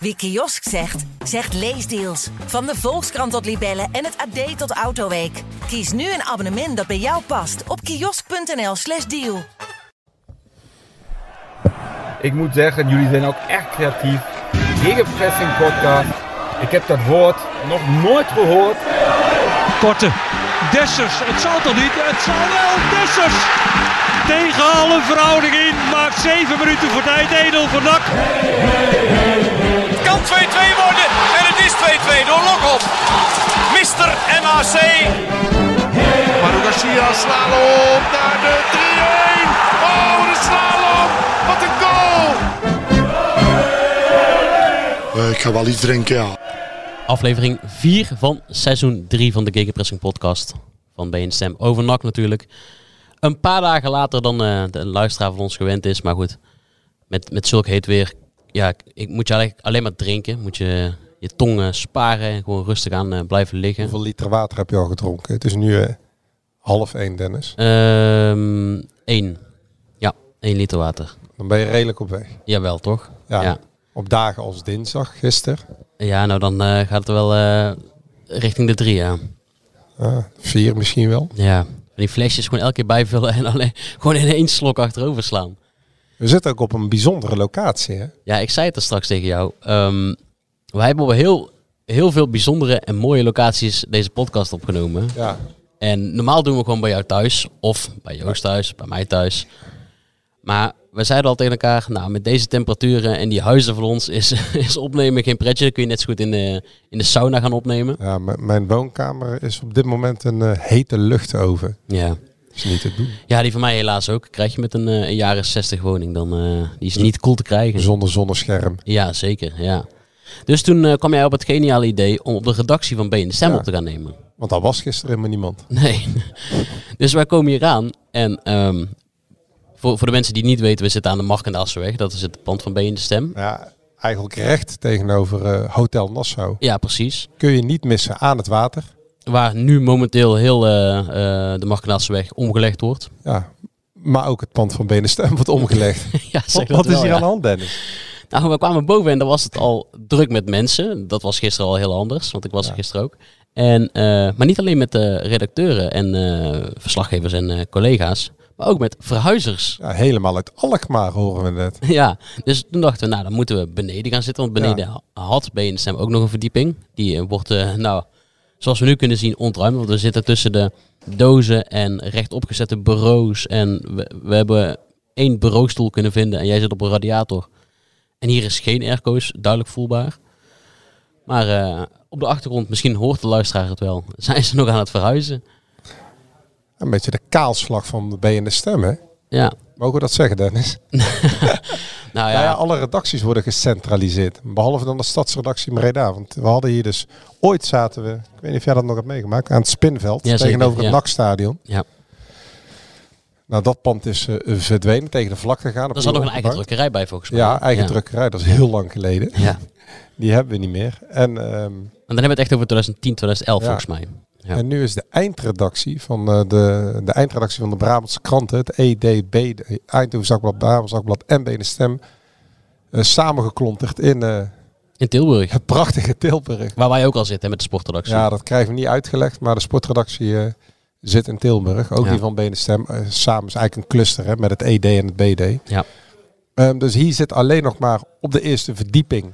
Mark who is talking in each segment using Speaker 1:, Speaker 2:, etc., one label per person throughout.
Speaker 1: Wie kiosk zegt, zegt leesdeals. Van de Volkskrant tot Libellen en het AD tot Autoweek. Kies nu een abonnement dat bij jou past op kiosk.nl/slash deal.
Speaker 2: Ik moet zeggen, jullie zijn ook echt creatief. Gegenpressing podcast. Ik heb dat woord nog nooit gehoord.
Speaker 3: Korte. Dessers. Het zal toch niet? Het zal wel. Dessers. Tegen alle verhouding in. Maakt 7 minuten voor tijd. Edel van Dak.
Speaker 4: Het kan 2-2 worden en het is 2-2 door Lokop. Mister MAC. Maru Garcia slalom naar de 3-1. Oh, de slalom. Wat een goal.
Speaker 5: Eh, ik ga wel iets drinken, ja.
Speaker 6: Aflevering 4 van seizoen 3 van de Gegenpressing podcast. Van BN Stem over NAC natuurlijk. Een paar dagen later dan eh, de luisteraar van ons gewend is. Maar goed, met, met zulk heet weer. Ja, ik moet je eigenlijk alleen maar drinken. Moet je je tong eh, sparen en gewoon rustig aan eh, blijven liggen.
Speaker 7: Hoeveel liter water heb je al gedronken? Het is nu eh, half één, Dennis.
Speaker 6: Ehm 1. Ja, 1 liter water.
Speaker 7: Dan ben je redelijk op weg.
Speaker 6: Jawel, toch?
Speaker 7: Ja.
Speaker 6: Ja,
Speaker 7: Op dagen als dinsdag, gisteren.
Speaker 6: Ja, nou dan eh, gaat het wel eh, richting de 3, ja.
Speaker 7: Ah, vier misschien wel.
Speaker 6: Ja, van die flesjes gewoon elke keer bijvullen en alleen gewoon in één slok achterover slaan.
Speaker 7: We zitten ook op een bijzondere locatie, hè?
Speaker 6: Ja, ik zei het er straks tegen jou. Ehm wij hebben op heel, heel veel bijzondere en mooie locaties deze podcast opgenomen.
Speaker 7: Ja.
Speaker 6: En normaal doen we gewoon bij jou thuis, of bij Joost thuis, bij mij thuis. Maar we zeiden al tegen elkaar, nou met deze temperaturen en die huizen van ons is, is opnemen geen pretje. Dan kun je net zo goed in de, in de sauna gaan opnemen.
Speaker 7: ja m- mijn woonkamer is op dit moment een eh, hete luchtoven.
Speaker 6: Ja.
Speaker 7: Is niet te doen.
Speaker 6: ja, die van mij helaas ook. Krijg je met een, eh, een jaren 60 woning, dan eh, die is niet cool te krijgen.
Speaker 7: Zonder zonnescherm.
Speaker 6: Ja, zeker. Ja. Dus toen eh, kwam jij op het geniale idee om op de redactie van BNSM Stem
Speaker 7: Ja.
Speaker 6: op te gaan nemen.
Speaker 7: Want dat was gisteren helemaal niemand.
Speaker 6: Nee. dus wij komen hier aan en ehm, voor, voor de mensen die het niet weten, we zitten aan de Mark en de Assenweg. Dat is het pand van BN de Stem.
Speaker 7: Ja, eigenlijk recht tegenover eh, Hotel Nassau.
Speaker 6: Ja, precies.
Speaker 7: Kun je niet missen aan het water.
Speaker 6: Waar nu momenteel heel eh, eh, de Mark en de Assenweg omgelegd wordt.
Speaker 7: Ja. Maar ook het pand van Benenstem wordt omgelegd.
Speaker 6: ja, zeg
Speaker 7: Wat,
Speaker 6: dat
Speaker 7: wat is
Speaker 6: wel,
Speaker 7: hier
Speaker 6: ja.
Speaker 7: aan de hand, Dennis?
Speaker 6: Nou, we kwamen boven en dan was het al druk met mensen. Dat was gisteren al heel anders, want ik was er gisteren ook. En, eh, maar niet alleen met eh, redacteuren en eh, verslaggevers en eh, collega's, maar ook met verhuizers.
Speaker 7: Ja, helemaal uit Alkmaar horen we net.
Speaker 6: Ja, dus toen dachten we, nou dan moeten we beneden gaan zitten. Want beneden ha- had BNSM ook nog een verdieping. Die eh, wordt, eh, nou, zoals we nu kunnen zien, ontruimd. Want we zitten tussen de dozen en rechtopgezette bureaus. En we, we hebben één bureaustoel kunnen vinden. En jij zit op een radiator. En hier is geen airco's, duidelijk voelbaar. Maar eh, op de achtergrond, misschien hoort de luisteraar het wel, zijn ze nog aan het verhuizen.
Speaker 7: Een beetje de kaalslag van de BNS Stem, hè?
Speaker 6: Ja,
Speaker 7: Mogen we dat zeggen, Dennis?
Speaker 6: nou
Speaker 7: Ja.
Speaker 6: ja,
Speaker 7: ja, alle redacties worden gecentraliseerd. Behalve dan de stadsredactie in Breda. Want we hadden hier dus... Ooit zaten we, ik weet niet of jij dat nog hebt meegemaakt, aan het Spinveld.
Speaker 6: Ja, zeker,
Speaker 7: tegenover het
Speaker 6: ja.
Speaker 7: NAC-stadion.
Speaker 6: ja.
Speaker 7: Nou, dat pand is eh, verdwenen, tegen de vlak gegaan.
Speaker 6: Er zat nog een eigen
Speaker 7: druk.
Speaker 6: drukkerij bij volgens mij.
Speaker 7: Ja, eigen drukkerij. Dat is heel lang geleden.
Speaker 6: Ja.
Speaker 7: Die hebben we niet meer. En, ehm,
Speaker 6: En dan hebben we het echt over 2010, 2011
Speaker 7: Ja.
Speaker 6: volgens mij. Ja.
Speaker 7: en nu is de eindredactie van eh, de, de eindredactie van de Brabantse kranten, het EDB, de Eindhoven Zakblad, Brabants Zakblad en BNStem, Stem, eh, samengeklonterd in eh,
Speaker 6: In Tilburg.
Speaker 7: het prachtige Tilburg.
Speaker 6: Waar wij ook al zitten hè, met de sportredactie.
Speaker 7: Ja, dat krijgen we niet uitgelegd, maar de sportredactie eh, zit in Tilburg. Ook
Speaker 6: Ja.
Speaker 7: die van BNStem. Stem. eh, samen is eigenlijk een cluster hè, met het ED en het BD.
Speaker 6: Ja.
Speaker 7: Ehm, dus hier zit alleen nog maar op de eerste verdieping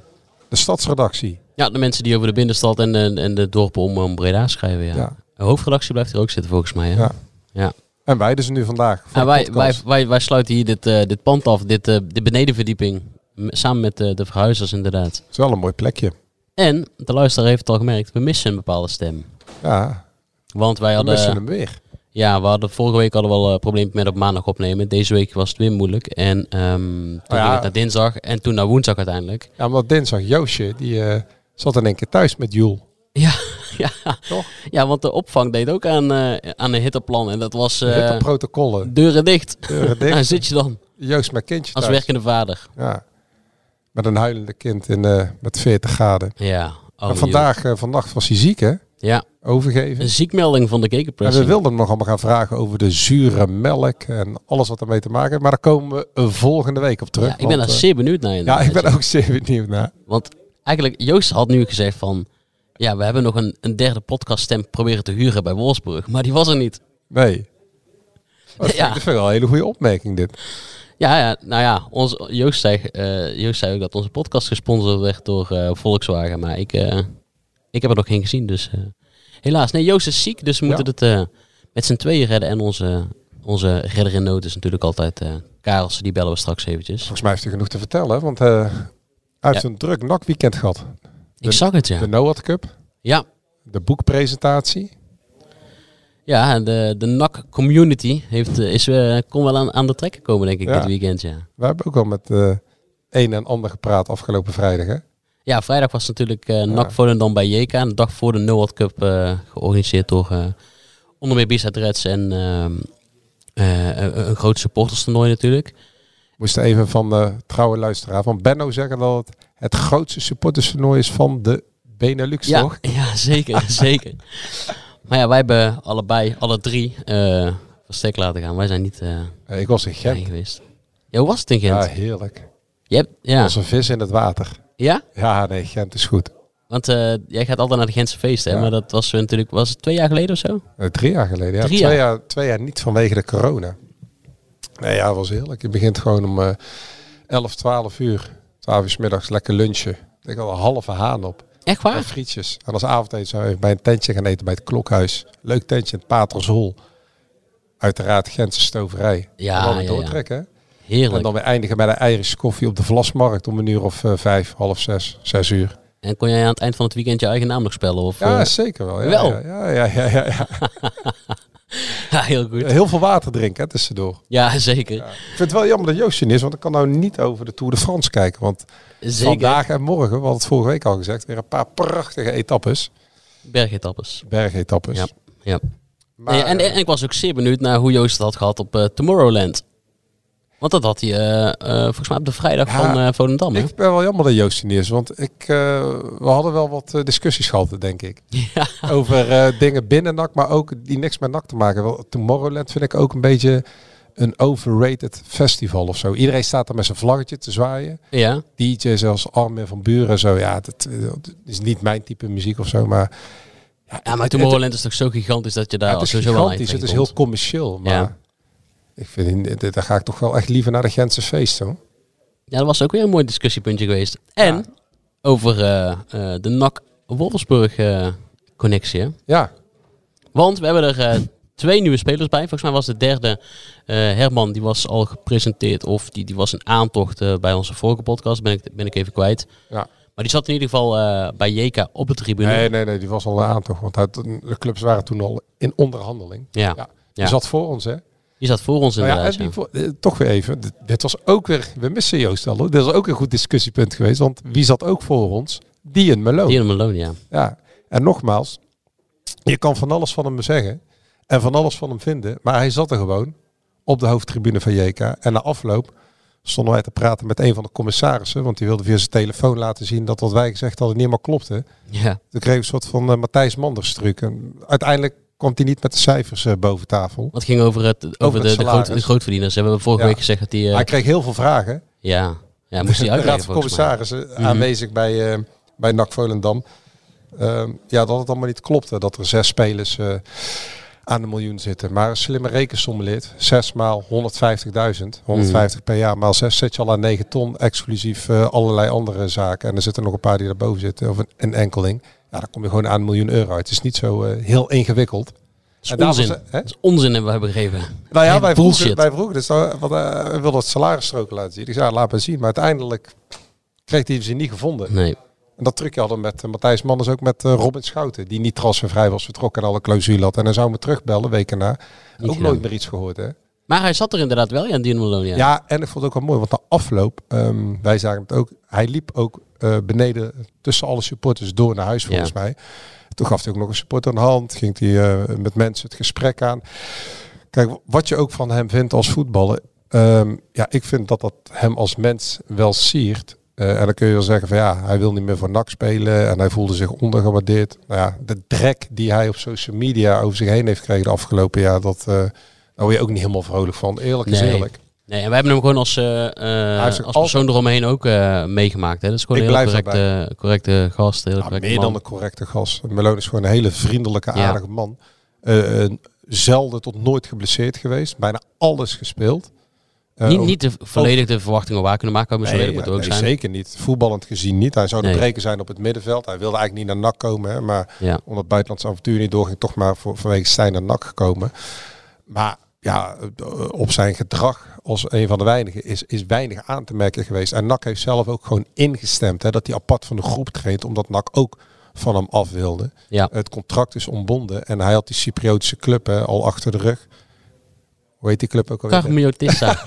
Speaker 7: de stadsredactie.
Speaker 6: Ja, de mensen die over de binnenstad en de, en de dorpen om, om Breda schrijven. Ja.
Speaker 7: Ja.
Speaker 6: De hoofdredactie blijft hier ook zitten volgens mij. Hè?
Speaker 7: Ja.
Speaker 6: Ja.
Speaker 7: En wij dus nu vandaag. voor
Speaker 6: En
Speaker 7: de
Speaker 6: wij, wij,
Speaker 7: podcast.
Speaker 6: wij, wij sluiten hier dit, eh, dit pand af, dit, eh, de benedenverdieping. m- Samen met eh, de verhuizers inderdaad.
Speaker 7: Het is wel een mooi plekje.
Speaker 6: En, de luisteraar heeft het al gemerkt, we missen een bepaalde stem.
Speaker 7: Ja,
Speaker 6: Want wij
Speaker 7: we missen
Speaker 6: hadden,
Speaker 7: hem weer.
Speaker 6: ja, we hadden vorige week hadden we al een probleem met op maandag opnemen. Deze week was het weer moeilijk. En ehm, toen
Speaker 7: Oh ja.
Speaker 6: ging het naar dinsdag en toen naar woensdag uiteindelijk.
Speaker 7: Ja, omdat dinsdag Joosje, die eh, zat in één keer thuis met Joel.
Speaker 6: Ja, ja.
Speaker 7: Toch?
Speaker 6: ja, want de opvang deed ook aan, eh, aan een hitteplan. En dat was eh,
Speaker 7: Witte protocollen.
Speaker 6: deuren dicht.
Speaker 7: Deuren dicht.
Speaker 6: Daar zit je dan
Speaker 7: Joost met kindje
Speaker 6: als
Speaker 7: thuis.
Speaker 6: werkende vader.
Speaker 7: Ja. Met een huilende kind in, eh, met 40 graden.
Speaker 6: Ja. oh,
Speaker 7: en vandaag, eh, vannacht was hij ziek, hè?
Speaker 6: joh. Ja,
Speaker 7: Overgeven.
Speaker 6: een ziekmelding van de
Speaker 7: En we
Speaker 6: kekenpressing.
Speaker 7: wilden hem nog allemaal gaan vragen over de zure melk en alles wat ermee te maken heeft. Maar daar komen we eh, volgende week op terug.
Speaker 6: Ja, ik ben daar
Speaker 7: want, eh,
Speaker 6: zeer benieuwd naar.
Speaker 7: ja,
Speaker 6: inderdaad,
Speaker 7: ik ben
Speaker 6: joh.
Speaker 7: ook zeer benieuwd naar.
Speaker 6: Want eigenlijk, Joost had nu gezegd van... Ja, we hebben nog een, een derde podcaststem proberen te huren bij Wolfsburg. Maar die was er niet.
Speaker 7: Nee. Dat vind, ik-
Speaker 6: Ja.
Speaker 7: dat vind ik wel een hele goede opmerking dit.
Speaker 6: Ja, ja nou ja, ons, Joost, zei, eh, Joost zei ook dat onze podcast gesponsord werd door eh, Volkswagen. Maar ik, eh, ik heb er nog geen gezien, dus eh, helaas. Nee, Joost is ziek, dus we moeten het eh, met z'n tweeën redden. En onze, onze redder in nood is natuurlijk altijd eh Karels. Die bellen we straks eventjes.
Speaker 7: Volgens mij heeft hij genoeg te vertellen, want eh, hij heeft
Speaker 6: Ja.
Speaker 7: een druk nakweekend gehad.
Speaker 6: Ik zag het, ja.
Speaker 7: De Noord Cup,
Speaker 6: Ja,
Speaker 7: de boekpresentatie.
Speaker 6: ja en de, de NAC community heeft, eh, is, eh, kon wel aan, aan de trekken komen, denk ik,
Speaker 7: Ja.
Speaker 6: dit weekend, ja.
Speaker 7: We hebben ook wel met eh een en ander gepraat afgelopen vrijdag. Hè?
Speaker 6: Ja, vrijdag was natuurlijk eh NAC Volendam bij JK. Een dag voor de Noord Cup eh, georganiseerd door eh, onder meer Bisa Reds en ehm, eh, een, een groot supporterstoernooi natuurlijk.
Speaker 7: moest even van de trouwe luisteraar, van Benno zeggen dat het het grootste supporterstoernooi is van de Benelux,
Speaker 6: Ja,
Speaker 7: toch?
Speaker 6: ja, zeker, zeker. Maar ja, wij hebben allebei, alle drie, eh verstek laten gaan. Wij zijn niet eh
Speaker 7: Eh, Ik was in Gent.
Speaker 6: bij geweest. Ja, hoe was het in
Speaker 7: Ja,
Speaker 6: Gent?
Speaker 7: heerlijk.
Speaker 6: Je hebt, ja.
Speaker 7: Als een vis in het water.
Speaker 6: ja?
Speaker 7: Ja, nee, Gent is goed.
Speaker 6: Want eh, jij gaat altijd naar de Gentse feesten, hè?
Speaker 7: Ja.
Speaker 6: maar dat was eh, natuurlijk was het twee jaar geleden of zo?
Speaker 7: Eh, drie jaar geleden. Ja.
Speaker 6: Drie
Speaker 7: twee,
Speaker 6: jaar?
Speaker 7: jaar. twee jaar niet vanwege de corona. Nee, ja, het was heerlijk. Je begint gewoon om eh 11, 12 uur. 12 uur 's middags lekker lunchen. Ik had een halve haan op.
Speaker 6: Echt
Speaker 7: En
Speaker 6: waar?
Speaker 7: frietjes. En als avondeten zijn we even bij een tentje gaan eten bij het Klokhuis. Leuk tentje in het Patershol. Uiteraard Gentse stoverij.
Speaker 6: Ja,
Speaker 7: En dan weer
Speaker 6: ja, ja.
Speaker 7: doortrekken. hè? En
Speaker 6: Heerlijk.
Speaker 7: dan weer eindigen bij de Irish koffie op de Vlasmarkt om een uur of eh, vijf, half zes, zes uur.
Speaker 6: En kon jij aan het eind van het weekend je eigen naam nog spellen? Of,
Speaker 7: Ja,
Speaker 6: eh,
Speaker 7: zeker wel. Ja,
Speaker 6: wel?
Speaker 7: Ja, ja, ja, ja, ja.
Speaker 6: ja, heel goed.
Speaker 7: Heel veel water drinken hè, tussendoor.
Speaker 6: Ja, zeker.
Speaker 7: Ik vind het wel jammer dat Joost er niet is, want ik kan nou niet over de Tour de France kijken. Want
Speaker 6: zeker.
Speaker 7: vandaag en morgen, we hadden het vorige week al gezegd, weer een paar prachtige etappes.
Speaker 6: Bergetappes.
Speaker 7: Bergetappes.
Speaker 6: Ja. ja.
Speaker 7: Maar,
Speaker 6: Nee, en, en ik was ook zeer benieuwd naar hoe Joost het had gehad op eh, Tomorrowland. Want dat had hij eh, eh, volgens mij op de vrijdag
Speaker 7: Ja,
Speaker 6: van eh Volendam. hè?
Speaker 7: Ik ben wel jammer dat Joost er niet is, want ik, eh, we hadden wel wat eh, discussies gehad, denk ik.
Speaker 6: Ja.
Speaker 7: Over eh, dingen binnen NAC, maar ook die niks met NAC te maken hebben. Wel, Tomorrowland vind ik ook een beetje een overrated festival of zo. Iedereen staat er met zijn vlaggetje te zwaaien.
Speaker 6: ja.
Speaker 7: DJ's als Armin van Buren en zo. Ja, dat, eh, dat is niet mijn type muziek of zo, maar...
Speaker 6: ja, maar
Speaker 7: het-
Speaker 6: Tomorrowland is toch zo gigantisch dat je daar
Speaker 7: Ja,
Speaker 6: al
Speaker 7: het is
Speaker 6: sowieso wel
Speaker 7: gigantisch, het
Speaker 6: eind
Speaker 7: is
Speaker 6: tegen
Speaker 7: heel commercieel, maar...
Speaker 6: Ja.
Speaker 7: Ik vind, dit- daar ga ik toch wel echt liever naar de Gentse feest, hoor.
Speaker 6: komt. Ja, dat was ook weer een mooi discussiepuntje geweest. En over eh, eh, de eh, NAC-Wolfsburg-connectie.
Speaker 7: Ja,
Speaker 6: Want we hebben er eh, twee nieuwe spelers bij. Volgens mij was de derde eh, Herman, die was al gepresenteerd. Of die, die was een aantocht eh, bij onze vorige podcast. Ben ik, ben ik even kwijt.
Speaker 7: ja.
Speaker 6: Maar die zat in ieder geval eh, bij JK op de tribune.
Speaker 7: Nee, nee, nee, die was al aan toch. Want hij- de clubs waren toen al in onderhandeling.
Speaker 6: Ja.
Speaker 7: Ja. Die
Speaker 6: Ja.
Speaker 7: zat voor ons, hè?
Speaker 6: Die zat voor ons
Speaker 7: Nou ja,
Speaker 6: inderdaad.
Speaker 7: en
Speaker 6: ja.
Speaker 7: die voor- eh, toch weer even. Dit, dit was ook weer. We missen Joost al hoor. Dit was ook een goed discussiepunt geweest. Want wie zat ook voor ons? Dion Malone.
Speaker 6: Hier in Malone, ja.
Speaker 7: Ja. En nogmaals, je kan van alles van hem zeggen. En van alles van hem vinden. Maar hij zat er gewoon op de hoofdtribune van JK. En na afloop stonden wij te praten met een van de commissarissen. Want die wilde via zijn telefoon laten zien dat wat wij gezegd hadden niet helemaal klopte.
Speaker 6: ja.
Speaker 7: Toen kreeg ik een soort van eh, Matthijs Manders truc. En uiteindelijk kwam hij niet met de cijfers eh, boven tafel.
Speaker 6: Wat ging over, het, over,
Speaker 7: Over het
Speaker 6: de, de,
Speaker 7: salaris.
Speaker 6: groot, de grootverdieners. Hebben we vorige
Speaker 7: Ja.
Speaker 6: week gezegd dat die... eh,
Speaker 7: Hij kreeg heel veel vragen.
Speaker 6: ja. ja, moest hij
Speaker 7: de Raad
Speaker 6: uitleggen
Speaker 7: van
Speaker 6: volgens mij. Mhm.
Speaker 7: Commissarissen aanwezig bij, eh bij NAC Volendam. Ehm, ja, dat het allemaal niet klopte. Dat er zes spelers eh, aan de miljoen zitten. Maar een slimme rekensom lid. Zes maal 150.000. 150
Speaker 6: Mhm.
Speaker 7: per jaar maal zes zit je al aan 9 ton. Exclusief eh, allerlei andere zaken. En er zitten nog een paar die daarboven zitten. Of een, een enkeling. Ja, dan kom je gewoon aan een miljoen euro uit. Het is niet zo eh, heel ingewikkeld.
Speaker 6: Dat is onzin.
Speaker 7: daarvoor ze- hè?
Speaker 6: Dat is onzin hebben we gegeven.
Speaker 7: Nou ja, wij vroegen,
Speaker 6: Bullshit.
Speaker 7: wij vroegen dus, eh, want eh, hij wilde het salarisstroken laten zien. Ik zei, ja, laat maar zien. Maar uiteindelijk kreeg hij ze niet gevonden.
Speaker 6: Nee.
Speaker 7: En dat trucje hadden we met eh, Matthijs Manders ook met eh, Robin Schouten. Die niet transfervrij was vertrokken en alle clausule had. En hij zou me terugbellen, weken na. ook
Speaker 6: gedaan.
Speaker 7: nooit meer iets gehoord, hè?
Speaker 6: Maar hij zat er inderdaad wel, ja, Dino Malone. Ja.
Speaker 7: Ja, en ik vond het ook wel mooi, want de afloop, ehm, wij zagen het ook, hij liep ook eh, beneden tussen alle supporters door naar huis volgens
Speaker 6: Ja.
Speaker 7: mij. Toen gaf hij ook nog een supporter een hand, ging hij eh, met mensen het gesprek aan. Kijk, wat je ook van hem vindt als voetballer, ehm, ja, ik vind dat dat hem als mens wel siert. Eh, en dan kun je wel zeggen van ja, hij wil niet meer voor NAC spelen en hij voelde zich ondergewaardeerd. Nou ja, de drek die hij op social media over zich heen heeft gekregen de afgelopen jaar, dat, eh daar word je ook niet helemaal vrolijk van. Eerlijk is
Speaker 6: Nee.
Speaker 7: eerlijk.
Speaker 6: Nee, en wij hebben hem gewoon als, eh, eh, als
Speaker 7: is ook
Speaker 6: persoon eromheen ook eh, meegemaakt. Hè. Dat is gewoon
Speaker 7: Ik
Speaker 6: een hele
Speaker 7: blijf
Speaker 6: correcte, correcte gast. Hele
Speaker 7: Ja,
Speaker 6: correcte
Speaker 7: Nou, meer
Speaker 6: man.
Speaker 7: dan een correcte gast. Malone is gewoon een hele vriendelijke,
Speaker 6: Ja.
Speaker 7: aardige man. Eh, eh, zelden tot nooit geblesseerd geweest. Bijna alles gespeeld. Eh,
Speaker 6: niet,
Speaker 7: ook-
Speaker 6: niet de, volledig de verwachtingen waar kunnen maken, maar zo
Speaker 7: Nee,
Speaker 6: eerlijk moet het
Speaker 7: ja,
Speaker 6: ook
Speaker 7: nee,
Speaker 6: zijn.
Speaker 7: zeker niet. Voetballend gezien niet. Hij zou de
Speaker 6: Nee.
Speaker 7: breker zijn op het middenveld. Hij wilde eigenlijk niet naar NAC komen. Hè, maar
Speaker 6: Ja.
Speaker 7: omdat het buitenlands avontuur niet doorging, toch maar voor, vanwege Stijn naar NAC gekomen. Maar ja, eh, op zijn gedrag als een van de weinigen is, is weinig aan te merken geweest. En NAC heeft zelf ook gewoon ingestemd hè, dat hij apart van de groep treedt, omdat NAC ook van hem af wilde.
Speaker 6: Ja.
Speaker 7: Het contract is ontbonden en hij had die Cypriotische club hè, al achter de rug. Hoe heet die club ook alweer?
Speaker 6: Carmiotissa.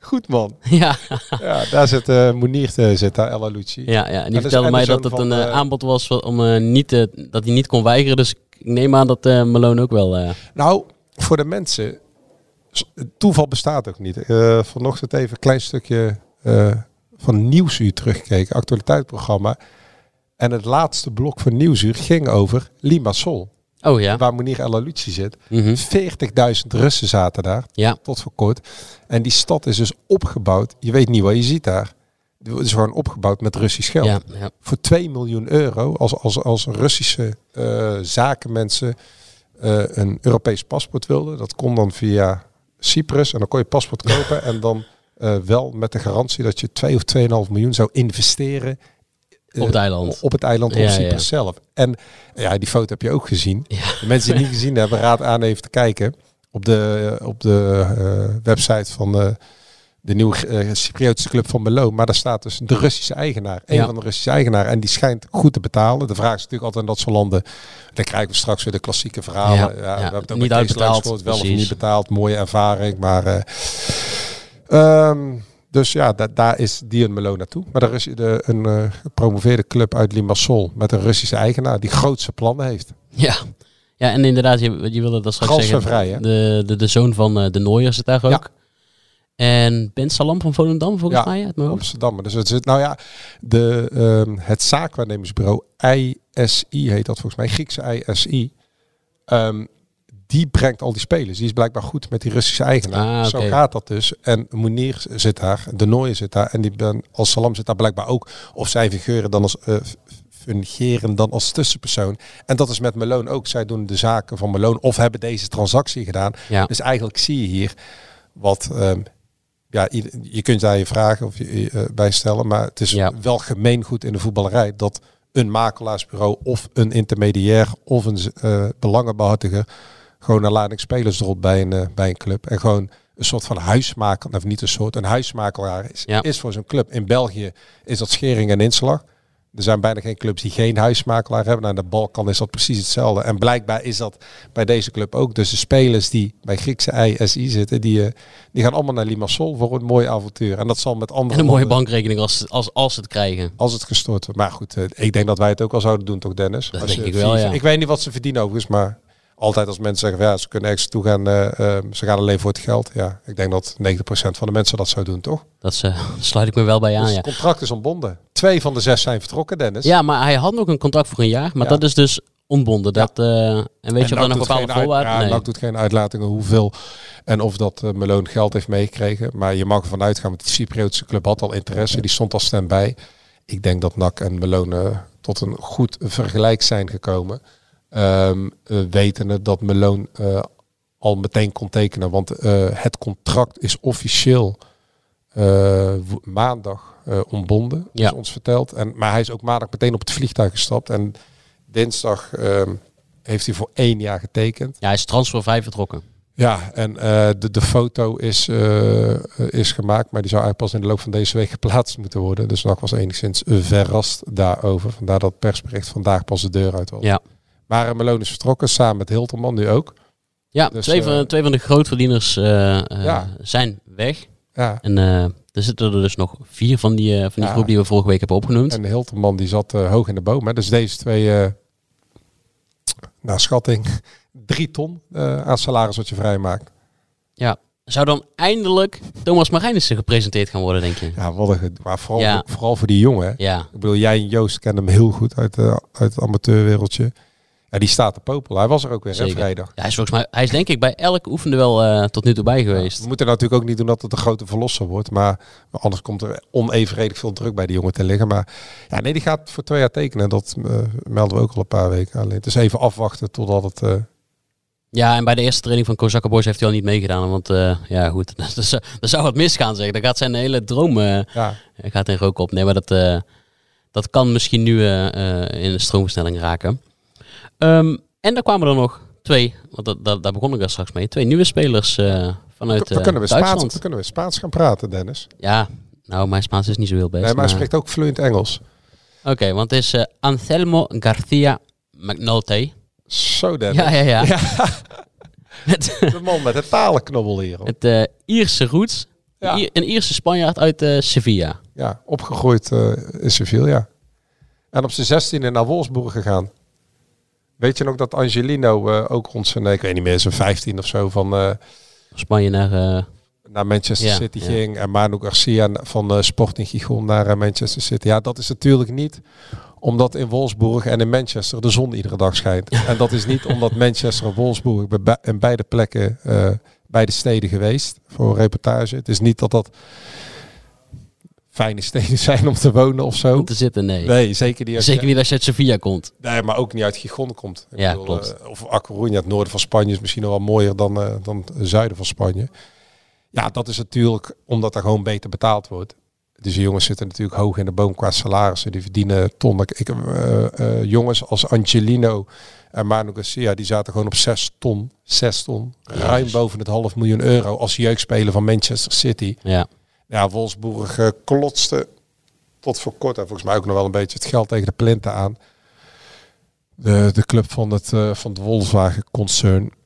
Speaker 7: Goed man.
Speaker 6: ja.
Speaker 7: Ja, daar zit eh Moenier eh, zit daar, El Alouchi.
Speaker 6: ja, ja, en die
Speaker 7: is
Speaker 6: vertelde mij
Speaker 7: Anderson
Speaker 6: dat het
Speaker 7: van,
Speaker 6: een eh,
Speaker 7: eh,
Speaker 6: aanbod was om eh, niet, eh, dat hij niet kon weigeren. Dus ik neem aan dat eh Malone ook wel... eh,
Speaker 7: Nou, voor de mensen, s- toeval bestaat ook niet. Eh, vanochtend even een klein stukje eh, van Nieuwsuur teruggekeken, actualiteitsprogramma. En het laatste blok van Nieuwsuur ging over Limassol,
Speaker 6: Oh ja.
Speaker 7: waar Moenier El Alouchi zit.
Speaker 6: Mhm.
Speaker 7: 40.000 Russen zaten daar,
Speaker 6: Ja.
Speaker 7: tot voor kort. En die stad is dus opgebouwd, je weet niet wat je ziet daar. Het is gewoon opgebouwd met Russisch geld.
Speaker 6: Ja, ja.
Speaker 7: voor 2 miljoen euro als, als, als Russische eh, zakenmensen eh, een Europees paspoort wilden. Dat kon dan via Cyprus en dan kon je paspoort kopen en dan eh, wel met de garantie dat je 2 of 2,5 miljoen zou investeren eh,
Speaker 6: Op het eiland.
Speaker 7: Op het eiland op
Speaker 6: Ja,
Speaker 7: Cyprus
Speaker 6: ja.
Speaker 7: zelf. En ja, die foto heb je ook gezien. De mensen die het niet gezien hebben, raad aan even te kijken op de, op de eh, website van eh, de nieuwe eh, Cypriotische club van Melo. Maar daar staat dus de Russische eigenaar. Een
Speaker 6: Ja.
Speaker 7: van de Russische eigenaren. En die schijnt goed te betalen. De vraag is natuurlijk altijd in dat soort landen. Dan krijgen we straks weer de klassieke verhalen.
Speaker 6: Ja,
Speaker 7: Ja,
Speaker 6: ja,
Speaker 7: we hebben het ook
Speaker 6: niet
Speaker 7: met
Speaker 6: uitbetaald,
Speaker 7: Kees Luikspoort Wel of
Speaker 6: precies.
Speaker 7: niet betaald. Mooie ervaring. Maar, eh, ehm, dus ja, da- daar is Dion Melo naartoe. Maar er is de, een eh, gepromoveerde club uit Limassol. Met een Russische eigenaar die grootse plannen heeft.
Speaker 6: Ja. Ja, en inderdaad, je, je wilde dat straks
Speaker 7: Transfervrij,
Speaker 6: zeggen.
Speaker 7: hè?
Speaker 6: De, de, de zoon van eh, de Nooier zit daar ook.
Speaker 7: Ja.
Speaker 6: En Ben Salam van Volendam, volgens
Speaker 7: Ja,
Speaker 6: mij. Uit mijn hoofd.
Speaker 7: Amsterdam. Dus het zit, nou ja, de, ehm, het zaakwaarnemersbureau ISI heet dat volgens mij, Griekse ISI. Ehm, die brengt al die spelers. Die is blijkbaar goed met die Russische eigenaar.
Speaker 6: Ah,
Speaker 7: Zo
Speaker 6: oké.
Speaker 7: gaat dat dus. En Moenier zit daar, De Nooijen zit daar en die ben als Salam zit daar blijkbaar ook. Of zij figuren dan als eh, f- fungeren dan als tussenpersoon. En dat is met Malone ook. Zij doen de zaken van Malone of hebben deze transactie gedaan.
Speaker 6: Ja.
Speaker 7: Dus eigenlijk zie je hier wat. ehm, ja, ieder- je kunt daar je vragen of je, je, eh, bij stellen, maar het is
Speaker 6: Ja.
Speaker 7: wel gemeengoed in de voetballerij dat een makelaarsbureau of een intermediair of een z- eh, belangenbehartiger gewoon een lading spelers erop bij een, eh, bij een club en gewoon een soort van huismaker, of niet een soort, een huismakelaar is,
Speaker 6: Ja.
Speaker 7: is voor zo'n club. In België is dat schering en inslag. Er zijn bijna geen clubs die geen huismakelaar hebben. Nou, aan de Balkan is dat precies hetzelfde. En blijkbaar is dat bij deze club ook. Dus de spelers die bij Griekse ISI zitten, die, eh, die gaan allemaal naar Limassol voor een mooi avontuur. En dat zal met andere
Speaker 6: En een mooie
Speaker 7: landen-
Speaker 6: bankrekening als, als, als ze het krijgen.
Speaker 7: Als het gestort wordt. Maar goed, eh, ik denk dat wij het ook al zouden doen, toch Dennis?
Speaker 6: Dat
Speaker 7: Als
Speaker 6: denk
Speaker 7: je
Speaker 6: ik wel,
Speaker 7: vier-
Speaker 6: ja.
Speaker 7: Ik weet niet wat ze verdienen overigens, maar altijd als mensen zeggen, ja, ze kunnen ergens toe gaan, eh, eh, ze gaan alleen voor het geld. Ja, ik denk dat 90% van de mensen dat zou doen, toch?
Speaker 6: Dat is, eh, sluit ik me wel bij aan,
Speaker 7: dus
Speaker 6: ja.
Speaker 7: het contract is ontbonden. Twee van de zes zijn vertrokken, Dennis.
Speaker 6: Ja, maar hij had nog een contract voor een jaar. Maar
Speaker 7: Ja.
Speaker 6: dat is dus ontbonden. Dat, eh, en weet je of
Speaker 7: En
Speaker 6: er
Speaker 7: NAC
Speaker 6: nog
Speaker 7: doet
Speaker 6: bepaalde
Speaker 7: geen uit-
Speaker 6: voorwaarden...
Speaker 7: Ja,
Speaker 6: nee.
Speaker 7: NAC doet geen uitlatingen hoeveel en of dat eh Malone geld heeft meegekregen. Maar je mag ervan uitgaan, want de Cypriotische club had al interesse. Die stond al stand-by. Ik denk dat NAC en Malone eh, tot een goed vergelijk zijn gekomen. Ehm eh, wetende dat Malone eh, al meteen kon tekenen. Want eh, het contract is officieel eh, wo- maandag eh, ontbonden,
Speaker 6: Ja.
Speaker 7: is ons verteld. En, maar hij is ook maandag meteen op het vliegtuig gestapt. En dinsdag ehm, heeft hij voor één jaar getekend.
Speaker 6: Ja, hij is transfervrij vertrokken.
Speaker 7: Ja, en eh, de, de foto is, eh, eh, is gemaakt, maar die zou eigenlijk pas in de loop van deze week geplaatst moeten worden. Dus NAC was enigszins eh, verrast daarover. Vandaar dat het persbericht vandaag pas de deur uit was.
Speaker 6: Ja.
Speaker 7: Maar eh, Malone is vertrokken, samen met Hilterman nu ook.
Speaker 6: Ja,
Speaker 7: Dus,
Speaker 6: twee, van,
Speaker 7: eh,
Speaker 6: twee van de grootverdieners eh, eh,
Speaker 7: Ja.
Speaker 6: zijn weg.
Speaker 7: Ja.
Speaker 6: En eh, er zitten er dus nog vier van die, eh, van die
Speaker 7: Ja.
Speaker 6: groep die we vorige week hebben opgenoemd.
Speaker 7: En Hilterman die zat eh, hoog in de boom. Hè. Dus deze twee, eh, naar schatting, drie ton eh, aan salaris wat je vrijmaakt.
Speaker 6: Ja. Zou dan eindelijk Thomas Marijnissen gepresenteerd gaan worden, denk je?
Speaker 7: Ja, wat een gedoe. Maar vooral,
Speaker 6: Ja.
Speaker 7: vooral voor die jongen. hè.
Speaker 6: Ja.
Speaker 7: Ik bedoel, jij en Joost kennen hem heel goed uit, de- uit het amateurwereldje. Ja, die staat te popelen. Hij was er ook weer, hè,
Speaker 6: Zeker.
Speaker 7: vrijdag.
Speaker 6: Ja, hij, is volgens mij, hij is denk ik bij elk oefende wel eh, tot nu toe bij geweest.
Speaker 7: We moeten natuurlijk ook niet doen dat het een grote verlosser wordt. Maar anders komt er onevenredig veel druk bij die jongen te liggen. Maar ja, nee, die gaat voor twee jaar tekenen. Dat eh, melden we ook al een paar weken. Alleen het is even afwachten totdat het... eh,
Speaker 6: Ja, en bij de eerste training van Kozakke Boys heeft hij al niet meegedaan. Want eh, ja, goed, er zou- er zou wat misgaan zeg. Dan gaat zijn hele droom eh,
Speaker 7: ja,
Speaker 6: gaat in rook op. Nee, maar dat, eh, dat kan misschien nu eh, eh, in een stroomversnelling raken. Ehm, en daar kwamen er nog twee, want dat, dat, daar begon ik al straks mee, twee nieuwe spelers eh, vanuit
Speaker 7: we,
Speaker 6: eh,
Speaker 7: kunnen weer Spaans,
Speaker 6: Duitsland.
Speaker 7: we kunnen weer Spaans gaan praten, Dennis.
Speaker 6: Ja, nou, mijn Spaans is niet zo heel best.
Speaker 7: Nee, maar hij spreekt ook vloeiend Engels.
Speaker 6: Oké, want het is eh, Anselmo Garcia McNulty.
Speaker 7: Zo, Dennis.
Speaker 6: Ja, ja, ja. Met
Speaker 7: De man met de talenknobbel hier. hoor.
Speaker 6: het eh, Ierse roots.
Speaker 7: Ja.
Speaker 6: Ier- Een Ierse Spanjaard uit eh, Sevilla.
Speaker 7: Ja, opgegroeid eh, in Sevilla. En op zijn zestiende naar Wolfsburg gegaan. Weet je nog dat Angelino eh, ook rond zijn, nee, ik weet niet meer, zijn 15 of zo van... eh,
Speaker 6: Van Spanje naar... eh,
Speaker 7: naar Manchester
Speaker 6: Ja,
Speaker 7: City
Speaker 6: ja.
Speaker 7: ging. En Manu Garcia van eh, Sporting Gijon naar eh, Manchester City. Ja, dat is natuurlijk niet omdat in Wolfsburg en in Manchester de zon iedere dag schijnt. en dat is niet omdat Manchester en Wolfsburg ik ben bij- in beide plekken, eh, beide steden geweest voor een reportage. Het is niet dat dat fijne steden zijn om te wonen of zo.
Speaker 6: om te zitten, nee.
Speaker 7: Nee, zeker niet. als je-
Speaker 6: Zeker niet als je uit Sevilla komt.
Speaker 7: Nee, maar ook niet uit Gijon komt. Ik
Speaker 6: Ja,
Speaker 7: bedoel,
Speaker 6: klopt.
Speaker 7: eh, of A Coruña, het noorden van Spanje, is misschien nog wel mooier dan, eh, dan het zuiden van Spanje. Ja, dat is natuurlijk omdat er gewoon beter betaald wordt. Dus die jongens zitten natuurlijk hoog in de boom qua salarissen. Die verdienen tonnen. Ik, eh, eh, jongens als Angelino en Manu Garcia, die zaten gewoon op 6 ton. 6 ton.
Speaker 6: dus-
Speaker 7: Ruim boven het half miljoen euro als jeugdspeler van Manchester City.
Speaker 6: Ja.
Speaker 7: Ja, Wolfsburg eh, klotste tot voor kort en volgens mij ook nog wel een beetje het geld tegen de plinten aan. De, de club van het, eh, van het Volkswagen concern.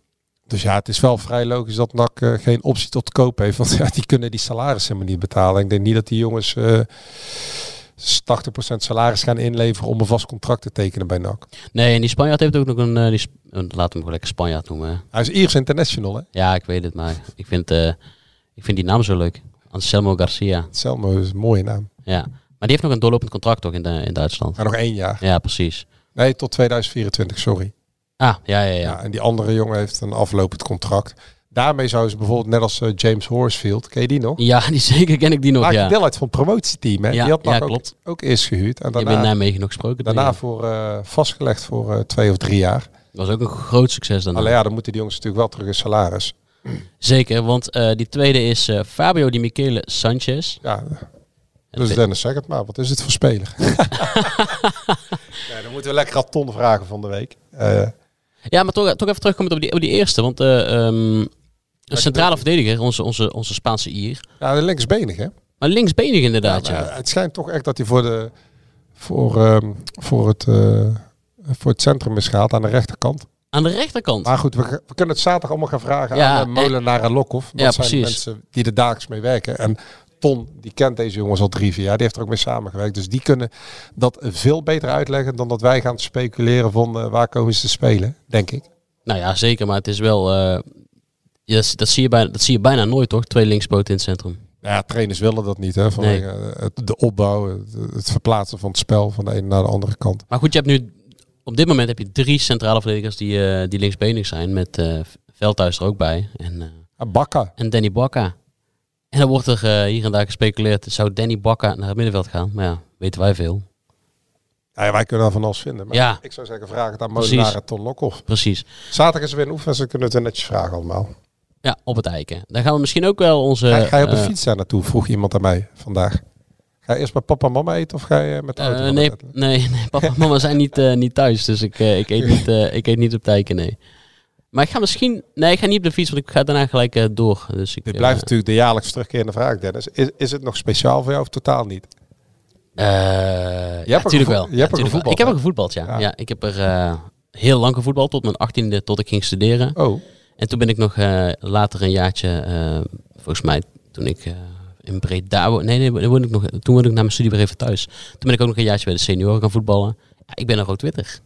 Speaker 7: Dus ja, het is wel vrij logisch dat NAC eh, geen optie tot koop heeft. Want ja, die kunnen die salarissen helemaal niet betalen. Ik denk niet dat die jongens eh 80% salaris gaan inleveren om een vast contract te tekenen bij NAC.
Speaker 6: Nee, en die Spanjaard heeft ook nog een... eh, die Sp- eh, laten we hem gewoon lekker Spanjaard noemen. hè.
Speaker 7: Hij is Iers International, hè?
Speaker 6: Ja, ik weet het, maar ik vind, eh, ik vind die naam zo leuk. Anselmo Garcia.
Speaker 7: Selmo is een mooie naam.
Speaker 6: Ja. Maar die heeft nog een doorlopend contract toch in, de, in Duitsland.
Speaker 7: Maar nog één jaar.
Speaker 6: Ja, precies.
Speaker 7: Nee, tot 2024, sorry.
Speaker 6: Ah, ja, ja, ja.
Speaker 7: Ja, en die andere jongen heeft een aflopend contract. Daarmee zou ze bijvoorbeeld, net als eh, James Horsfield, ken je die nog?
Speaker 6: Ja, die zeker ken ik die nog,
Speaker 7: Maakt
Speaker 6: ja.
Speaker 7: deel uit van het promotieteam. Hè?
Speaker 6: Ja,
Speaker 7: die had
Speaker 6: ja,
Speaker 7: nog ook,
Speaker 6: klopt.
Speaker 7: ook eerst gehuurd. En
Speaker 6: Je bent
Speaker 7: daarna,
Speaker 6: Nijmegen nog gesproken. denk
Speaker 7: daarna
Speaker 6: ik.
Speaker 7: voor, eh, vastgelegd voor eh, twee of drie jaar.
Speaker 6: Dat was ook een groot succes daarna.
Speaker 7: Alleen ja, dan moeten die jongens natuurlijk wel terug in salaris.
Speaker 6: Zeker, want eh, die tweede is eh, Fabio Di Michele Sanchez.
Speaker 7: Ja, dus Dennis, zeg het maar. Wat is het voor speler? nee, dan moeten we lekker aan Ton vragen van de week. Eh,
Speaker 6: Ja, maar toch, toch even terugkomen op die, op die eerste. Want eh, ehm, een centrale verdediger, onze, onze, onze Spaanse Ier.
Speaker 7: ja, de linksbenig, hè?
Speaker 6: Maar linksbenig inderdaad, ja.
Speaker 7: Maar, eh, het schijnt toch echt dat hij voor, de, voor, ehm, voor, het, eh, voor het centrum is gehaald aan de rechterkant.
Speaker 6: Aan de rechterkant.
Speaker 7: Maar goed, we, we kunnen het zaterdag allemaal gaan vragen
Speaker 6: Ja,
Speaker 7: aan eh, Molenaar en Lokhoff. Dat
Speaker 6: Ja,
Speaker 7: zijn de
Speaker 6: precies.
Speaker 7: mensen die er dagelijks mee werken. En Ton, die kent deze jongens al drie, vier jaar. Die heeft er ook mee samengewerkt. Dus die kunnen dat veel beter uitleggen dan dat wij gaan speculeren van eh, waar komen ze te spelen, denk ik.
Speaker 6: Nou ja, zeker, maar het is wel... eh, ja, dat, dat, zie je bijna, dat zie je bijna nooit, toch? Twee linkspoten in het centrum.
Speaker 7: Nou Ja, trainers willen dat niet, hè? Vanwege eh, het, de opbouw, het, het verplaatsen van het spel van de ene naar de andere kant.
Speaker 6: Maar goed, je hebt nu... Op dit moment heb je drie centrale verdedigers die, eh, die linksbenig zijn. Met eh Veldhuis er ook bij. En... eh,
Speaker 7: En Bakka,
Speaker 6: en Danny Bakka. En dan wordt er eh, hier en daar gespeculeerd, zou Danny Bakka naar het middenveld gaan? Maar ja, weten wij veel.
Speaker 7: nou ja, wij kunnen daar van alles vinden. Maar
Speaker 6: Ja.
Speaker 7: ik zou zeggen, vraag het aan
Speaker 6: Precies.
Speaker 7: Molenaar en Ton Lokhoff.
Speaker 6: Precies.
Speaker 7: Zaterdag is er weer een oefening, ze kunnen we het weer netjes vragen allemaal.
Speaker 6: Ja, op het eiken. Dan gaan we misschien ook wel onze...
Speaker 7: Ga, ga je op de
Speaker 6: eh,
Speaker 7: fiets daar naartoe? Vroeg iemand aan mij vandaag. Ga je eerst met papa en mama eten of ga je met de auto?
Speaker 6: eh,
Speaker 7: gaan
Speaker 6: nee,
Speaker 7: eten?
Speaker 6: nee, nee, papa en mama zijn niet, eh, niet thuis, dus ik, eh, ik, eet niet, eh, ik eet niet op het eiken, nee. Maar ik ga misschien... Nee, ik ga niet op de fiets, want ik ga daarna gelijk eh, door. Dus ik,
Speaker 7: Dit
Speaker 6: eh,
Speaker 7: blijft natuurlijk de jaarlijks terugkerende vraag, Dennis. Is, is het nog speciaal voor jou of totaal niet?
Speaker 6: eh, ja,
Speaker 7: ook
Speaker 6: natuurlijk
Speaker 7: gevo-
Speaker 6: wel.
Speaker 7: je
Speaker 6: Ja,
Speaker 7: hebt
Speaker 6: tuurlijk
Speaker 7: ook
Speaker 6: wel.
Speaker 7: gevoetbald,
Speaker 6: Ik heb
Speaker 7: hè?
Speaker 6: ook gevoetbald, ja.
Speaker 7: Ja.
Speaker 6: ja. ik heb er eh, heel lang gevoetbald, tot mijn achttiende, tot ik ging studeren.
Speaker 7: Oh,
Speaker 6: En toen ben ik nog eh, later een jaartje, eh, volgens mij toen ik eh, in Breda... wo- Nee, nee, toen woonde ik nog, toen woonde ik na mijn studie weer even thuis. Toen ben ik ook nog een jaartje bij de senioren gaan voetballen. Ja, ik ben een rood-witter.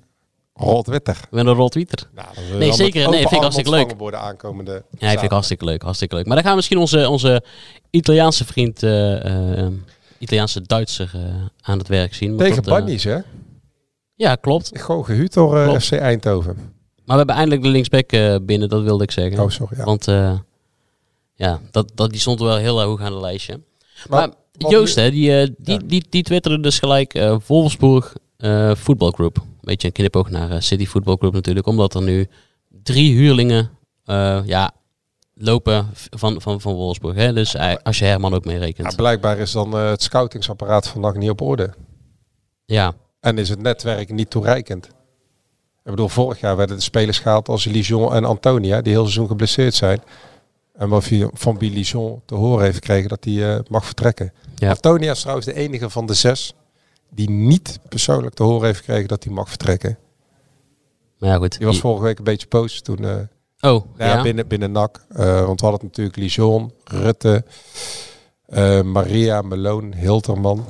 Speaker 7: rood-witter.
Speaker 6: Ik ben een rood-wieter.
Speaker 7: Nou,
Speaker 6: Nee, zeker. Nee, vind ik hartstikke leuk.
Speaker 7: Worden aankomende
Speaker 6: Ja, ik vind
Speaker 7: zaterdag.
Speaker 6: ik hartstikke leuk, hartstikke leuk. Maar dan gaan we misschien onze, onze Italiaanse vriend, eh, eh, Italiaanse Duitser eh, aan het werk zien. Want
Speaker 7: Tegen
Speaker 6: dat, eh,
Speaker 7: Bunnies, hè?
Speaker 6: Ja, klopt.
Speaker 7: Gewoon gehuurd door eh,
Speaker 6: Klopt.
Speaker 7: FC Eindhoven.
Speaker 6: Maar we hebben eindelijk de linksback eh, binnen, dat wilde ik zeggen.
Speaker 7: Oh, sorry. Ja.
Speaker 6: Want eh, ja, dat, dat, die stond wel heel hoog aan het lijstje. Maar,
Speaker 7: wat
Speaker 6: Joost,
Speaker 7: nu-
Speaker 6: hè, die, eh, die, die, die twitterde dus gelijk eh Wolfsburg eh, Football Group. Beetje een knipoog naar eh, City Football Group natuurlijk. Omdat er nu drie huurlingen eh, ja, lopen van, van, van Wolfsburg. Hè? Dus eh, als je Herman ook mee
Speaker 7: Ja,
Speaker 6: rekent.
Speaker 7: Nou, blijkbaar is dan eh, het scoutingsapparaat vandaag niet op orde.
Speaker 6: Ja,
Speaker 7: En is het netwerk niet toereikend. Ik bedoel, vorig jaar werden de spelers gehaald als Lijon en Antonia, die heel seizoen geblesseerd zijn. En wat je van Billy Lijon te horen heeft gekregen dat hij eh, mag vertrekken.
Speaker 6: Ja.
Speaker 7: Antonia is trouwens de enige van de zes die niet persoonlijk te horen heeft gekregen dat hij mag vertrekken.
Speaker 6: maar ja goed.
Speaker 7: Die was
Speaker 6: Die-
Speaker 7: vorige week een beetje boos toen eh,
Speaker 6: Oh,
Speaker 7: nou ja,
Speaker 6: ja.
Speaker 7: binnen, binnen NAC. eh, want we hadden natuurlijk Lijon, Rutte, eh, Maria, Meloon, Hilterman.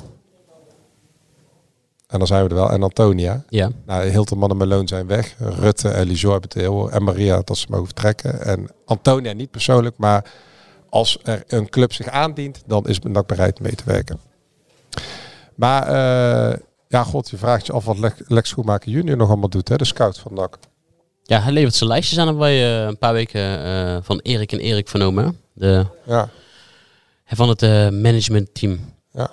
Speaker 7: En dan zijn we er wel. En Antonia.
Speaker 6: ja.
Speaker 7: Nou, Hilterman en Meloon zijn weg. Rutte en Lijon hebben het heel hoor. En Maria dat ze mogen vertrekken. En Antonia niet persoonlijk, maar als er een club zich aandient, dan is NAC bereid mee te werken. Maar eh, ja, god, je vraagt je af wat Lex- Lex Schoenmaker junior nog allemaal doet, hè? de scout van NAC.
Speaker 6: Ja, hij levert zijn lijstjes aan. Hebben wij eh, een paar weken eh, van Erik en Erik vernomen. hè? De,
Speaker 7: Ja,
Speaker 6: van het eh, managementteam.
Speaker 7: ja.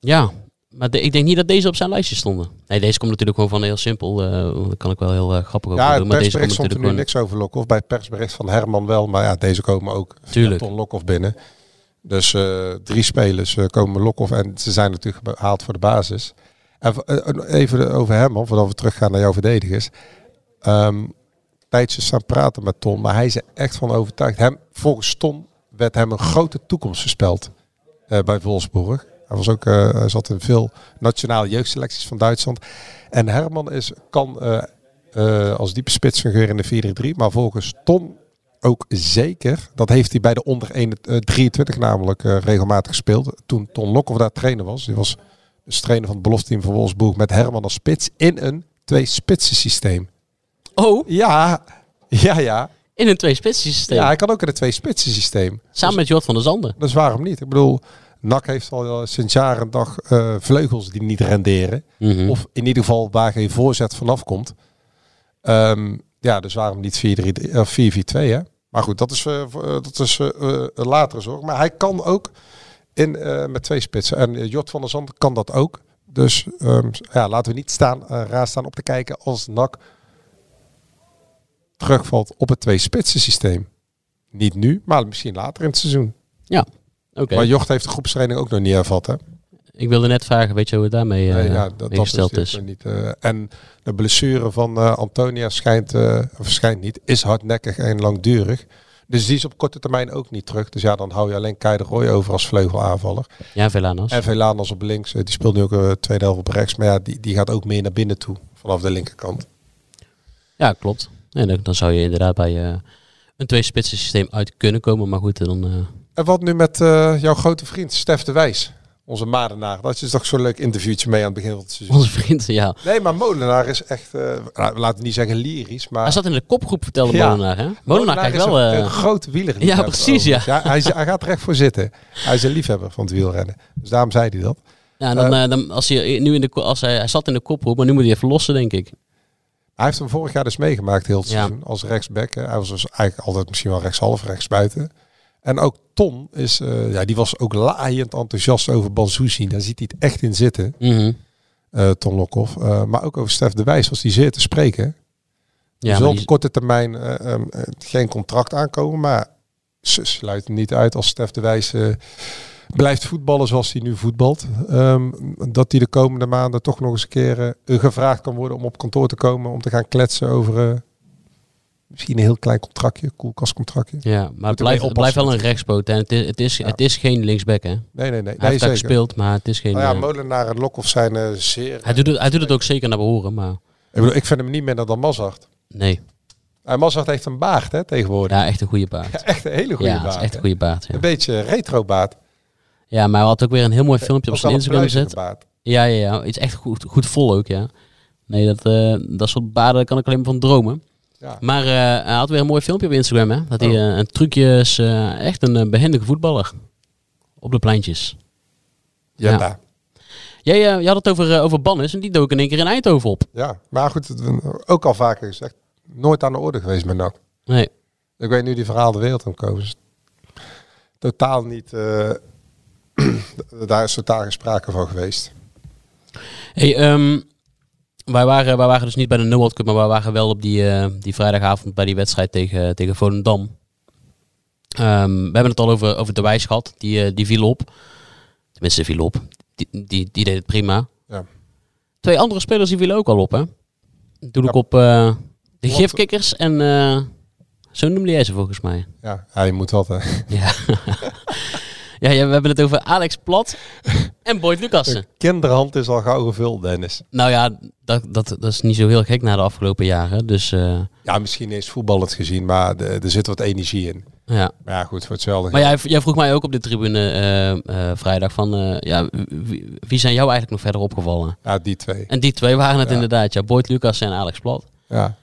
Speaker 6: Ja, maar de- ik denk niet dat deze op zijn lijstje stonden. Nee, deze komt natuurlijk gewoon van heel simpel. eh daar kan ik wel heel eh, grappig over
Speaker 7: Ja,
Speaker 6: doen.
Speaker 7: het
Speaker 6: Maar deze komt
Speaker 7: persbericht stond
Speaker 6: natuurlijk
Speaker 7: er nu
Speaker 6: gewoon...
Speaker 7: niks over Lokhoff. Bij het persbericht van Herman wel. Maar ja, deze komen ook via
Speaker 6: Tuurlijk.
Speaker 7: Ton Lokhoff binnen. Dus eh, drie spelers eh, komen Lokhoff. En ze zijn natuurlijk gehaald voor de basis. En v- eh, even over Herman, voordat we teruggaan naar jouw verdedigers. Ehm tijdje staan praten met Ton. Maar hij is er echt van overtuigd. Hem, volgens Ton werd hem een grote toekomst voorspeld eh, bij Wolfsburg. Hij, was ook, eh, hij zat in veel nationale jeugdselecties van Duitsland. En Herman is, kan eh, eh, als diepe spits fungeren in de 4-3. Maar volgens Ton ook zeker. Dat heeft hij bij de onder 21, eh, 23 namelijk eh, regelmatig gespeeld. Toen Ton Lokhoff daar trainer was. Die was dus trainer van het belofteam van Wolfsburg. Met Herman als spits in een twee-spitsen systeem.
Speaker 6: Oh,
Speaker 7: Ja, ja, ja.
Speaker 6: in een twee-spitsensysteem.
Speaker 7: Ja, hij kan ook in het twee-spitsen systeem.
Speaker 6: Samen met Jort van der Zanden.
Speaker 7: Dus waarom niet? Ik bedoel, NAC heeft al eh, sinds jaren en dag eh, vleugels die niet renderen.
Speaker 6: Mhm.
Speaker 7: Of in ieder geval waar geen voorzet vanaf komt. Ehm, ja, dus waarom niet 4-3, eh, 4-4-2, hè? Maar goed, dat is, eh, voor- eh, dat is eh, eh, latere zorg. Maar hij kan ook in, eh, met twee spitsen. En eh, Jort van der Zand kan dat ook. Dus ehm, ja, laten we niet staan, eh, raar staan op te kijken als NAC terugvalt op het twee-spitsen systeem. Niet nu, maar misschien later in het seizoen.
Speaker 6: Ja, oké.
Speaker 7: Maar Jocht heeft de groepstraining ook nog niet hervat, hè?
Speaker 6: Ik wilde net vragen, weet je hoe het daarmee eh,
Speaker 7: Nee, ja, dat,
Speaker 6: mee
Speaker 7: dat
Speaker 6: gesteld
Speaker 7: natuurlijk
Speaker 6: is?
Speaker 7: nog Niet, eh, en de blessure van eh, Antonia schijnt, eh, of schijnt niet, is hardnekkig en langdurig. Dus die is op korte termijn ook niet terug. Dus ja, dan hou je alleen Kei de Roy over als vleugelaanvaller.
Speaker 6: Ja, Velanas.
Speaker 7: En Velanas op links, eh, die speelt nu ook eh tweede helft op rechts. Maar ja, die, die gaat ook meer naar binnen toe, vanaf de linkerkant.
Speaker 6: Ja, klopt. Nee, dan, dan zou je inderdaad bij eh, een twee-spitsensysteem uit kunnen komen. Maar goed, dan... eh,
Speaker 7: En wat nu met eh, jouw grote vriend Stef de Wijs, onze Madenaar. Dat is toch zo'n leuk interviewtje mee aan het begin van het seizoen.
Speaker 6: onze vriend, ja.
Speaker 7: Nee, maar Molenaar is echt, eh, nou, laten we niet zeggen lyrisch, maar...
Speaker 6: Hij zat in de kopgroep, vertelde
Speaker 7: Ja.
Speaker 6: Molenaar, hè? Molenaar kijkt
Speaker 7: is
Speaker 6: wel...
Speaker 7: Een,
Speaker 6: eh,
Speaker 7: een groot wieler.
Speaker 6: Ja, precies, ja.
Speaker 7: hij, is- hij gaat er echt voor zitten. Hij is een liefhebber van het wielrennen. Dus daarom zei hij dat.
Speaker 6: ja, en dan, eh, dan, als hij, nu in de, ko- als hij, hij zat in de kopgroep, maar nu moet hij even lossen, denk ik.
Speaker 7: Hij heeft hem vorig jaar dus meegemaakt heel het
Speaker 6: Ja.
Speaker 7: seizoen als rechtsback. hè. Hij was dus eigenlijk altijd misschien wel rechtshalf, rechtsbuiten. En ook Ton is, eh, ja, die was ook laaiend enthousiast over Banzouzi. Daar ziet hij het echt in zitten,
Speaker 6: Mhm.
Speaker 7: eh, Ton Lokhoff. Eh, maar ook over Stef de Wijs was hij zeer te spreken.
Speaker 6: Ja,
Speaker 7: er
Speaker 6: maar
Speaker 7: zal
Speaker 6: die-
Speaker 7: Dus op korte termijn eh, ehm, eh, geen contract aankomen, maar ze sluiten niet uit als Stef de Wijs eh, blijft voetballen zoals hij nu voetbalt. Ehm, dat hij de komende maanden toch nog eens een keer eh, gevraagd kan worden om op kantoor te komen, om te gaan kletsen over eh, misschien een heel klein contractje, koelkastcontractje.
Speaker 6: Ja, maar het
Speaker 7: Moeten wij
Speaker 6: blijft, het blijft wel een
Speaker 7: oppassen.
Speaker 6: rechtspoot. En het is, het is,
Speaker 7: Ja.
Speaker 6: het is geen linksback, hè? Hij
Speaker 7: Nee, nee, nee. nee
Speaker 6: heeft daar
Speaker 7: zeker.
Speaker 6: gespeeld, maar het is geen...
Speaker 7: Nou ja,
Speaker 6: eh,
Speaker 7: Molenaar en Lokhoff zijn eh, zeer...
Speaker 6: hij, doet het, hij doet het ook zeker naar behoren, maar
Speaker 7: Ik, bedoel, ik vind hem niet minder dan Mazart.
Speaker 6: nee.
Speaker 7: En Mazart heeft een baard hè, tegenwoordig.
Speaker 6: Ja, echt een goede baard.
Speaker 7: Echt een hele goede
Speaker 6: ja, het
Speaker 7: baard.
Speaker 6: is echt
Speaker 7: hè.
Speaker 6: een goede baard, ja.
Speaker 7: Een beetje retro baard.
Speaker 6: Ja, maar hij had ook weer een heel mooi filmpje op
Speaker 7: Ook wel
Speaker 6: zijn
Speaker 7: een
Speaker 6: Instagram
Speaker 7: pluizige
Speaker 6: gezet.
Speaker 7: baard.
Speaker 6: Ja, ja, ja. Het is echt goed, goed vol ook, ja. Nee, dat, eh, dat soort baarden daar kan ik alleen maar van dromen.
Speaker 7: Ja.
Speaker 6: Maar eh, hij had weer een mooi filmpje op Instagram, hè. Dat hij
Speaker 7: Oh.
Speaker 6: eh, een trucje is. eh, echt een eh, behendige voetballer. Op de pleintjes.
Speaker 7: Ja.
Speaker 6: Ja.
Speaker 7: daar.
Speaker 6: Jij eh, je had het over, eh, over Bannis en die dook in één keer in Eindhoven op.
Speaker 7: Ja, maar goed, het- ook al vaker gezegd, nooit aan de orde geweest met NAC.
Speaker 6: Nee.
Speaker 7: Ik weet nu die verhaal de wereld om komen. is Totaal niet, eh, daar is totaal geen sprake van geweest.
Speaker 6: Hey, ehm, wij, waren, wij waren dus niet bij de No World Cup, maar wij waren wel op die, eh, die vrijdagavond bij die wedstrijd tegen, tegen Volendam. Ehm, we hebben het al over, over de wijs gehad, die, eh, die viel op. Tenminste, viel op. Die, die, die deed het prima.
Speaker 7: Ja.
Speaker 6: Twee andere spelers die vielen ook al op, hè? Doe ik
Speaker 7: Ja.
Speaker 6: op eh, de
Speaker 7: Klopt.
Speaker 6: gifkikkers en eh, zo noemde jij ze volgens mij.
Speaker 7: Ja, hij moet wat. eh, hè.
Speaker 6: Ja. ja, ja, we hebben het over Alex Plat en Boyd Lucassen.
Speaker 7: Kinderhand is al gauw gevuld, Dennis.
Speaker 6: Nou ja, dat, dat, dat is niet zo heel gek na de afgelopen jaren. Dus eh,
Speaker 7: Ja, misschien is voetbal het gezien, maar de- er zit wat energie in.
Speaker 6: ja.
Speaker 7: Maar ja, goed, voor hetzelfde.
Speaker 6: Maar jij, jij vroeg mij ook op de tribune eh, eh, vrijdag van, eh, ja, wie, wie zijn jou eigenlijk nog verder opgevallen?
Speaker 7: Ja, die twee.
Speaker 6: En die twee waren het
Speaker 7: Ja.
Speaker 6: inderdaad, ja, Boyd Lucassen en Alex Plat.
Speaker 7: Ja.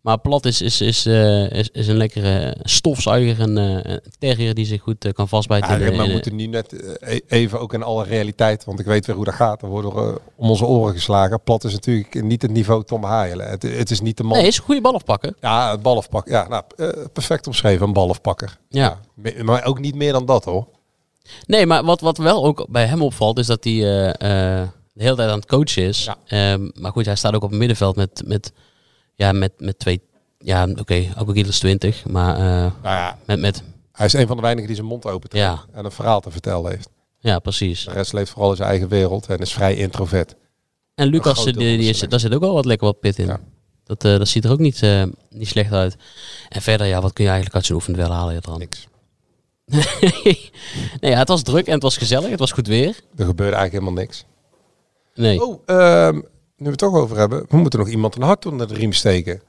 Speaker 6: Maar Plat is, is, is, eh, is, is een lekkere stofzuiger, een, eh, een terrier die zich goed eh, kan vastbijten. in-
Speaker 7: Ja, maar
Speaker 6: in-
Speaker 7: we moeten nu net eh, e- even ook in alle realiteit, want ik weet weer hoe dat gaat. Dan worden we eh, om onze oren geslagen. Plat is natuurlijk niet het niveau Tom Haaien. Het, het is niet de man.
Speaker 6: nee, is een goede bal afpakken.
Speaker 7: Ja, een balafpakker. Ja, nou, eh, perfect omschreven, een balafpakker.
Speaker 6: Ja.
Speaker 7: Me- Maar ook niet meer dan dat hoor.
Speaker 6: Nee, maar wat, wat wel ook bij hem opvalt is dat hij eh, eh, de hele tijd aan het coachen is.
Speaker 7: Ja.
Speaker 6: Ehm, maar goed, hij staat ook op het middenveld met, met, ja, met, met twee... Ja, oké, ook is 20, maar eh,
Speaker 7: Nou ja,
Speaker 6: met, met...
Speaker 7: hij is een van de weinigen die zijn mond open trekt
Speaker 6: Ja.
Speaker 7: en een verhaal te vertellen heeft.
Speaker 6: Ja, precies.
Speaker 7: De rest leeft vooral in zijn eigen wereld en is vrij introvert.
Speaker 6: En Lucas,
Speaker 7: groot
Speaker 6: die,
Speaker 7: deel
Speaker 6: die
Speaker 7: van de
Speaker 6: is,
Speaker 7: selectie.
Speaker 6: daar zit ook wel wat lekker wat pit in.
Speaker 7: Ja.
Speaker 6: Dat, eh, dat ziet er ook niet, eh, niet slecht uit. En verder, ja, wat kun je eigenlijk uit zo'n oefend wel halen, Jadran?
Speaker 7: Niks.
Speaker 6: nee, ja, het was druk en het was gezellig. Het was goed weer.
Speaker 7: Er gebeurde eigenlijk helemaal niks.
Speaker 6: Nee.
Speaker 7: Oh, ehm, nu we het toch over hebben. We moeten nog iemand een hart onder de riem steken.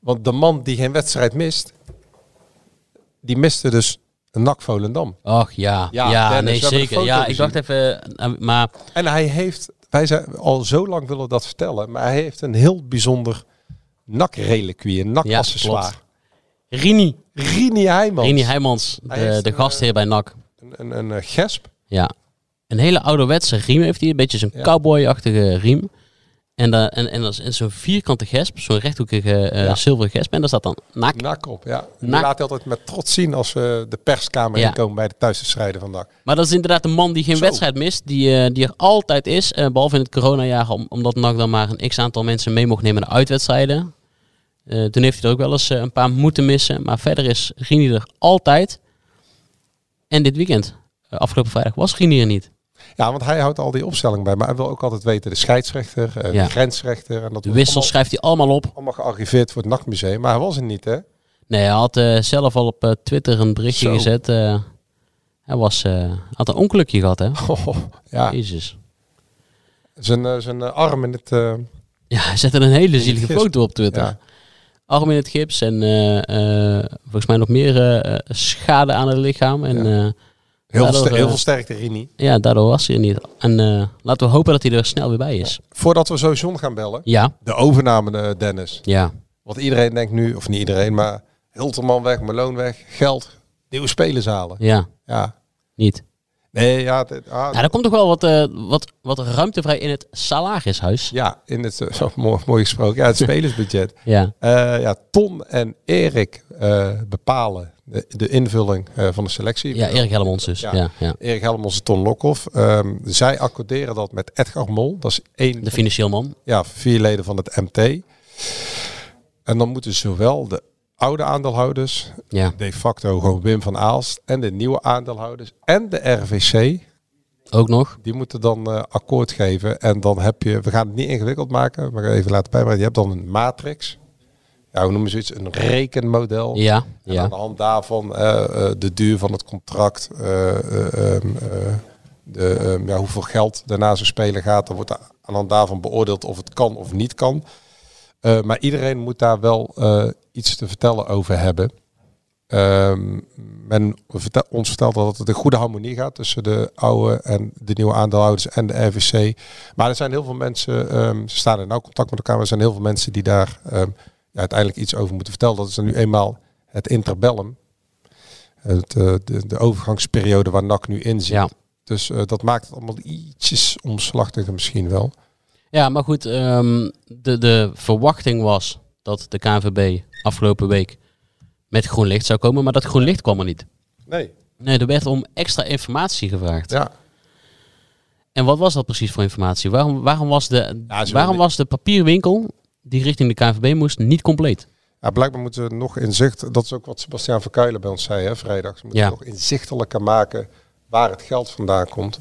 Speaker 7: Want de man die geen wedstrijd mist, die miste dus een NAC Volendam.
Speaker 6: Ach ja. Ja,
Speaker 7: Ja,
Speaker 6: nee,
Speaker 7: Dennis, we hebben de
Speaker 6: zeker.
Speaker 7: foto
Speaker 6: Ja, ik
Speaker 7: gezien.
Speaker 6: dacht even. eh, Maar
Speaker 7: En hij heeft, wij zijn al zo lang willen we dat vertellen, maar hij heeft een heel bijzonder NAC-reliquie, een
Speaker 6: Ja,
Speaker 7: NAC-accessoire.
Speaker 6: Rini.
Speaker 7: Rini Heijmans.
Speaker 6: Rini Heijmans,
Speaker 7: Hij
Speaker 6: de,
Speaker 7: heeft eh,
Speaker 6: de
Speaker 7: een,
Speaker 6: gastheer bij NAC.
Speaker 7: een, een, een, eh, gesp.
Speaker 6: Ja. Een hele ouderwetse riem heeft hij. Een beetje zo'n
Speaker 7: Ja.
Speaker 6: cowboy-achtige riem. En, da- en, en, dat is- en zo'n vierkante gesp, zo'n rechthoekige eh
Speaker 7: Ja.
Speaker 6: zilveren gesp. En daar staat dan NAC.
Speaker 7: NAC op, ja. Die
Speaker 6: NAC.
Speaker 7: laat hij altijd met trots zien als we de perskamer
Speaker 6: Ja.
Speaker 7: inkomen bij de thuiswedstrijden van NAC.
Speaker 6: Maar dat is inderdaad een man die geen
Speaker 7: Zo.
Speaker 6: wedstrijd mist, die, eh, die er altijd is. eh, behalve in het coronajaar, om, omdat NAC dan maar een x-aantal mensen mee mocht nemen naar uitwedstrijden. Eh, toen heeft hij er ook wel eens eh, een paar moeten missen. Maar verder is Rini er altijd. En dit weekend, eh, afgelopen vrijdag, was Rini er niet.
Speaker 7: Ja, want hij houdt al die opstelling bij, maar hij wil ook altijd weten de scheidsrechter, eh,
Speaker 6: Ja.
Speaker 7: de grensrechter. En dat wordt
Speaker 6: De
Speaker 7: allemaal-
Speaker 6: wissels schrijft hij allemaal op.
Speaker 7: allemaal gearriveerd voor het Nachtmuseum. Maar hij was er niet, hè?
Speaker 6: Nee, hij had eh, zelf al op eh, Twitter een berichtje
Speaker 7: Zo.
Speaker 6: gezet. eh, hij was, eh, had een ongelukje gehad, hè?
Speaker 7: ja.
Speaker 6: Oh. Jezus.
Speaker 7: Zijn, eh, zijn eh, arm in het... eh,
Speaker 6: Ja, hij zette een hele
Speaker 7: het
Speaker 6: zielige
Speaker 7: gips.
Speaker 6: foto op Twitter.
Speaker 7: ja.
Speaker 6: arm in het gips en eh, eh, volgens mij nog meer eh, eh, schade aan het lichaam. En ja,
Speaker 7: Heel,
Speaker 6: Daardoor,
Speaker 7: veel ster-
Speaker 6: eh,
Speaker 7: heel veel sterkte, Rini.
Speaker 6: ja daardoor was hij er niet. En eh, laten we hopen dat hij er snel weer bij is.
Speaker 7: Voordat we zo John gaan bellen.
Speaker 6: Ja,
Speaker 7: De overname, eh, Dennis.
Speaker 6: ja.
Speaker 7: Want iedereen denkt nu, of niet iedereen, maar Hilterman weg, Malone weg, geld, nieuwe spelers halen.
Speaker 6: Ja,
Speaker 7: Ja.
Speaker 6: niet.
Speaker 7: Nee, ja. dit- ah,
Speaker 6: Ja, er komt toch wel wat, eh, wat, wat ruimte vrij in het salarishuis.
Speaker 7: ja, in het, eh, zo mooi, mooi gesproken, ja, het spelersbudget.
Speaker 6: Ja,
Speaker 7: Eh, ja, Ton en Erik eh, bepalen de, de invulling eh, van de selectie.
Speaker 6: ja Erik Helmonds dus. Ja.
Speaker 7: Ja.
Speaker 6: Ja,
Speaker 7: Erik Helmons en Ton Lokhoff. Ehm, zij accorderen dat met Edgar Mol. Dat is één
Speaker 6: De
Speaker 7: van
Speaker 6: financieel man.
Speaker 7: ja, vier leden van het MT. En dan moeten zowel de oude aandeelhouders,
Speaker 6: Ja.
Speaker 7: de facto gewoon Wim van Aalst, en de nieuwe aandeelhouders en de RVC,
Speaker 6: Ook nog.
Speaker 7: die moeten dan eh, akkoord geven. En dan heb je, we gaan het niet ingewikkeld maken, maar even laten bijbrengen. Je hebt dan een matrix. Ja, hoe noemen ze iets? Een rekenmodel.
Speaker 6: Ja,
Speaker 7: En
Speaker 6: ja.
Speaker 7: aan de hand daarvan eh, eh, de duur van het contract, eh, eh, ehm, eh, de, ehm, ja, hoeveel geld daarna zo'n speler gaat. Dan wordt er aan de hand daarvan beoordeeld of het kan of niet kan. Eh, maar iedereen moet daar wel eh, iets te vertellen over hebben. Ehm, men vertel, ons vertelt al dat het een goede harmonie gaat tussen de oude en de nieuwe aandeelhouders en de RVC. Maar er zijn heel veel mensen, ehm, ze staan in nauw contact met elkaar, maar er zijn heel veel mensen die daar ehm, ja, uiteindelijk iets over moeten vertellen. Dat is dan nu eenmaal het interbellum. Het, eh, de, de overgangsperiode waar NAC nu in zit.
Speaker 6: Ja.
Speaker 7: Dus eh, dat maakt het allemaal ietsjes omslachtiger misschien wel.
Speaker 6: Ja, maar goed, ehm, de, de verwachting was dat de KNVB afgelopen week met groen licht zou komen, maar dat groen licht kwam er niet.
Speaker 7: Nee.
Speaker 6: Nee, er werd om extra informatie gevraagd.
Speaker 7: Ja.
Speaker 6: En wat was dat precies voor informatie? Waarom, waarom, was, de,
Speaker 7: Ja,
Speaker 6: waarom
Speaker 7: ze wilden-
Speaker 6: was de papierwinkel die richting de KNVB moest niet compleet?
Speaker 7: Ja, blijkbaar moeten we nog inzicht, dat is ook wat Sebastiaan Verkuilen bij ons zei hè, vrijdag. Ze moeten
Speaker 6: Ja.
Speaker 7: nog inzichtelijker maken waar het geld vandaan komt.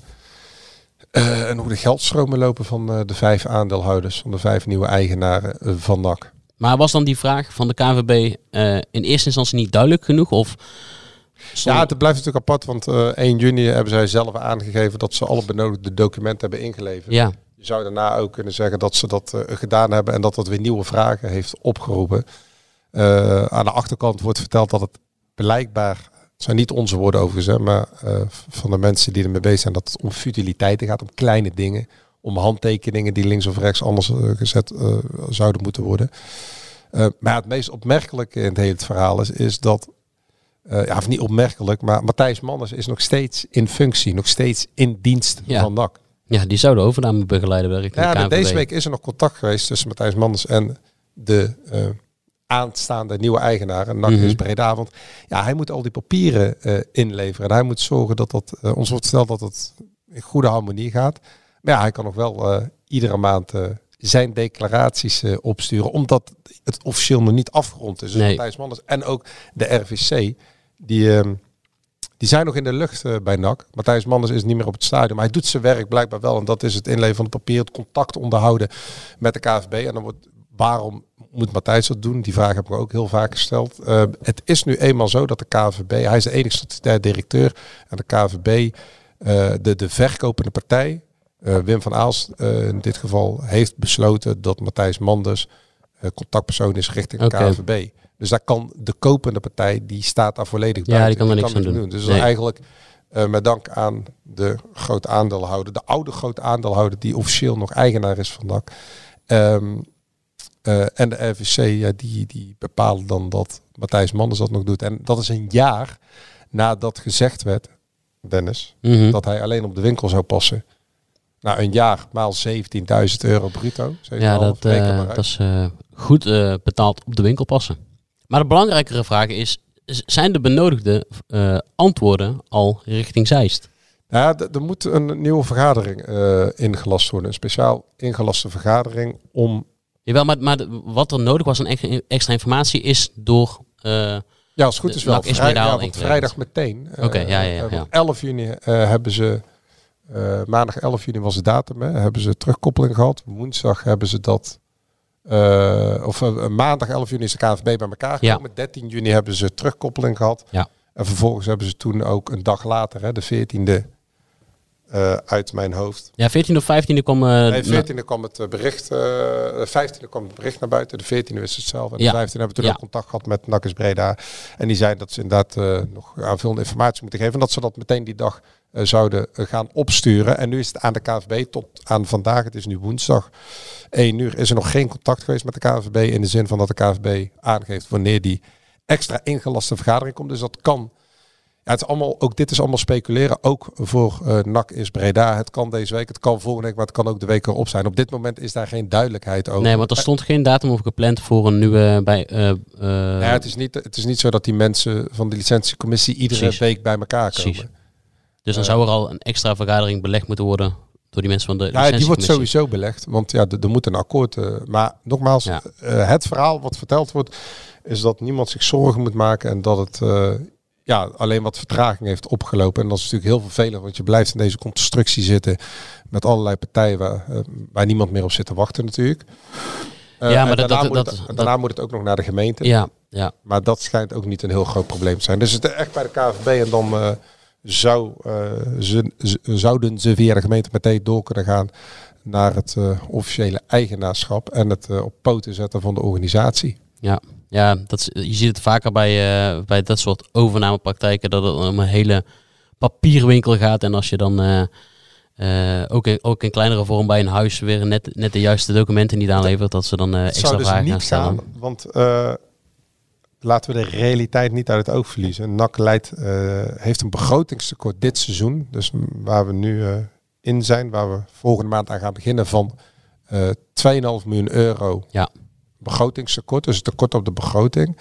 Speaker 7: Eh, en hoe de geldstromen lopen van eh, de vijf aandeelhouders, van de vijf nieuwe eigenaren eh, van NAC.
Speaker 6: Maar was dan die vraag van de KNVB eh, in eerste instantie niet duidelijk genoeg? Of stond-
Speaker 7: Ja, het blijft natuurlijk apart, want eh, 1 juni hebben zij zelf aangegeven dat ze alle benodigde documenten hebben ingeleverd.
Speaker 6: ja.
Speaker 7: Je zou daarna ook kunnen zeggen dat ze dat eh, gedaan hebben en dat dat weer nieuwe vragen heeft opgeroepen. Eh, aan de achterkant wordt verteld dat het blijkbaar, het zijn niet onze woorden overigens, hè, maar eh, van de mensen die ermee bezig zijn, dat het om futiliteiten gaat, om kleine dingen, om handtekeningen die links of rechts anders eh, gezet eh, zouden moeten worden. Eh, maar het meest opmerkelijke in het hele verhaal is, is dat, eh, ja, of niet opmerkelijk, maar Matthijs Manners is nog steeds in functie, nog steeds in dienst
Speaker 6: Ja.
Speaker 7: van NAC.
Speaker 6: ja, die zou de overname begeleiden bij richting
Speaker 7: Ja,
Speaker 6: de
Speaker 7: maar
Speaker 6: KNVB.
Speaker 7: deze week is er nog contact geweest tussen Matthijs Manders en de eh, aanstaande nieuwe eigenaar. En NAC
Speaker 6: Mhm.
Speaker 7: is Breda. Want ja, hij moet al die papieren eh, inleveren. En hij moet zorgen dat dat, eh, ons wordt verteld dat het in goede harmonie gaat. Maar ja, hij kan nog wel eh, iedere maand eh, zijn declaraties eh, opsturen. Omdat het officieel nog niet afgerond is. Dus
Speaker 6: Nee.
Speaker 7: Matthijs Manders en ook de RVC, die... ehm, die zijn nog in de lucht eh, bij NAC. Matthijs Manders is niet meer op het stadion. Maar hij doet zijn werk blijkbaar wel. En dat is het inleveren van het papier, het contact onderhouden met de KVB. En dan wordt, waarom moet Matthijs dat doen? Die vraag heb ik ook heel vaak gesteld. Eh, het is nu eenmaal zo dat de KVB, hij is de enige statutair directeur. En de KVB, eh, de, de verkopende partij, eh, Wim van Aals eh, in dit geval, heeft besloten dat Matthijs Manders eh, contactpersoon is richting de
Speaker 6: Oké.
Speaker 7: KVB. Dus daar kan de kopende partij, die staat daar volledig
Speaker 6: Ja, die
Speaker 7: buiten.
Speaker 6: kan er niks aan
Speaker 7: niks
Speaker 6: doen.
Speaker 7: Dus
Speaker 6: Nee.
Speaker 7: eigenlijk eh, met dank aan de groot aandeelhouder, de oude groot aandeelhouder die officieel nog eigenaar is van NAC. Ehm, eh, en de RVC, ja, die, die bepalen dan dat Matthijs Manders dat nog doet. En dat is een jaar nadat gezegd werd, Dennis,
Speaker 6: Mhm.
Speaker 7: dat hij alleen op de winkel zou passen. Nou, een jaar maal 17.000 euro bruto.
Speaker 6: Ja, dat, eh, dat is eh, goed eh, betaald op de winkel passen. Maar de belangrijkere vraag is, z- zijn de benodigde eh, antwoorden al richting Zeist?
Speaker 7: Nou Ja, d- er moet een nieuwe vergadering eh, ingelast worden. Een speciaal ingelaste vergadering om...
Speaker 6: Jawel, maar, maar de- wat er nodig was aan ex- extra informatie is door... eh,
Speaker 7: Ja, als het goed is wel.
Speaker 6: NAC is
Speaker 7: vrij-
Speaker 6: Breda al
Speaker 7: ja, want
Speaker 6: ingeregeld.
Speaker 7: vrijdag meteen. eh,
Speaker 6: Oké, ja, ja, ja,
Speaker 7: eh,
Speaker 6: ja.
Speaker 7: want 11 juni eh, hebben ze... eh, maandag 11 juni was de datum. Hè, hebben ze terugkoppeling gehad. Woensdag hebben ze dat... eh, of eh, maandag 11 juni is de KNVB bij elkaar
Speaker 6: Ja.
Speaker 7: gekomen. 13 juni hebben ze terugkoppeling gehad.
Speaker 6: Ja.
Speaker 7: En vervolgens hebben ze toen ook een dag later, hè, de 14e, eh, uit mijn hoofd.
Speaker 6: ja, 14 of 15 kwam... eh, na-
Speaker 7: Nee, 14e kwam het eh, bericht, eh, de 15e kwam het bericht naar buiten, de 14e is hetzelfde. En
Speaker 6: Ja.
Speaker 7: de 15e hebben we toen
Speaker 6: Ja.
Speaker 7: ook contact gehad met Nakkers Breda. En die zeiden dat ze inderdaad eh, nog aanvullende informatie moeten geven. En dat ze dat meteen die dag eh, zouden eh, gaan opsturen. En nu is het aan de KVB tot aan vandaag, het is nu woensdag 1 uur, is er nog geen contact geweest met de KVB. In de zin van dat de KVB aangeeft wanneer die extra ingelaste vergadering komt. Dus dat kan ja, het is allemaal, ook dit is allemaal speculeren. Ook voor eh NAC is Breda. Het kan deze week, het kan volgende week, maar het kan ook de week erop zijn. Op dit moment is daar geen duidelijkheid over.
Speaker 6: Nee, want er stond geen datum op gepland voor een nieuwe... Bij, eh, eh,
Speaker 7: Nou ja, het, is niet, het is niet zo dat die mensen van de licentiecommissie iedere
Speaker 6: Precies.
Speaker 7: week bij elkaar komen.
Speaker 6: Precies. dus
Speaker 7: eh.
Speaker 6: dan zou er al een extra vergadering belegd moeten worden door die mensen van de
Speaker 7: Ja, die wordt
Speaker 6: licentiecommissie.
Speaker 7: sowieso belegd, want ja, d- er moet een akkoord. eh, maar nogmaals,
Speaker 6: Ja.
Speaker 7: eh, het verhaal wat verteld wordt, is dat niemand zich zorgen moet maken en dat het eh, ja, alleen wat vertraging heeft opgelopen. En dat is natuurlijk heel vervelend, want je blijft in deze constructie zitten met allerlei partijen waar, eh, waar niemand meer op zit te wachten natuurlijk. Eh,
Speaker 6: Ja, maar dat-
Speaker 7: en daarna,
Speaker 6: dat-
Speaker 7: moet
Speaker 6: dat-
Speaker 7: het, en daarna moet het ook nog naar de gemeente.
Speaker 6: Ja, ja.
Speaker 7: Maar dat schijnt ook niet een heel groot probleem te zijn. Dus het is echt bij de KVB en dan eh, zou, eh, ze, ze- zouden ze via de gemeente meteen door kunnen gaan naar het eh, officiële eigenaarschap en het eh, op poten zetten van de organisatie.
Speaker 6: Ja, ja dat, is- je ziet het vaker bij, eh, bij dat soort overnamepraktijken dat het om een hele papierwinkel gaat. En als je dan eh, eh, ook, in, ook in kleinere vorm bij een huis weer net, net de juiste documenten niet aanlevert, dat ze dan eh
Speaker 7: Het
Speaker 6: extra
Speaker 7: zou dus
Speaker 6: vragen gaan
Speaker 7: niet
Speaker 6: stellen.
Speaker 7: gaan, want eh, laten we de realiteit niet uit het oog verliezen. NAC leidt, eh, heeft een begrotingstekort dit seizoen. Dus m- waar we nu eh, in zijn, waar we volgende maand aan gaan beginnen van eh 2,5 miljoen euro
Speaker 6: Ja.
Speaker 7: begrotingstekort. Dus het tekort op de begroting.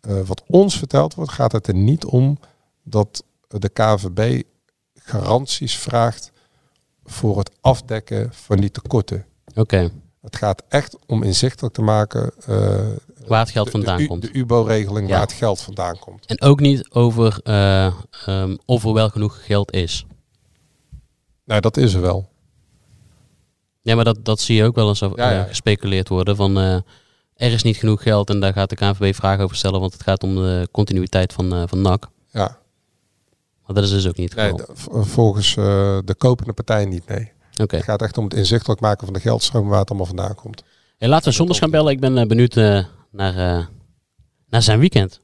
Speaker 7: Eh, wat ons verteld wordt, gaat het er niet om dat de KVB garanties vraagt voor het afdekken van die tekorten.
Speaker 6: Oké,
Speaker 7: Het gaat echt om inzichtelijk te maken eh,
Speaker 6: waar het geld
Speaker 7: de- de
Speaker 6: vandaan
Speaker 7: U-
Speaker 6: komt.
Speaker 7: De UBO-regeling
Speaker 6: Ja.
Speaker 7: waar het geld vandaan komt.
Speaker 6: En ook niet over eh, ehm, of er wel genoeg geld is.
Speaker 7: Nou, dat is er wel.
Speaker 6: Ja, maar dat, dat zie je ook wel eens over,
Speaker 7: Ja, ja.
Speaker 6: eh, gespeculeerd worden. Van eh, er is niet genoeg geld en daar gaat de KNVB vragen over stellen. Want het gaat om de continuïteit van, eh, van NAC.
Speaker 7: Ja.
Speaker 6: Maar dat is dus ook niet het
Speaker 7: Nee,
Speaker 6: geval.
Speaker 7: d- v- volgens eh, de kopende partij niet, nee.
Speaker 6: Oké.
Speaker 7: Het gaat echt om het inzichtelijk maken van de geldstroom waar het allemaal vandaan komt.
Speaker 6: Hey, laten we Sonders gaan bellen. Ik ben eh, benieuwd eh, naar, eh, naar zijn weekend.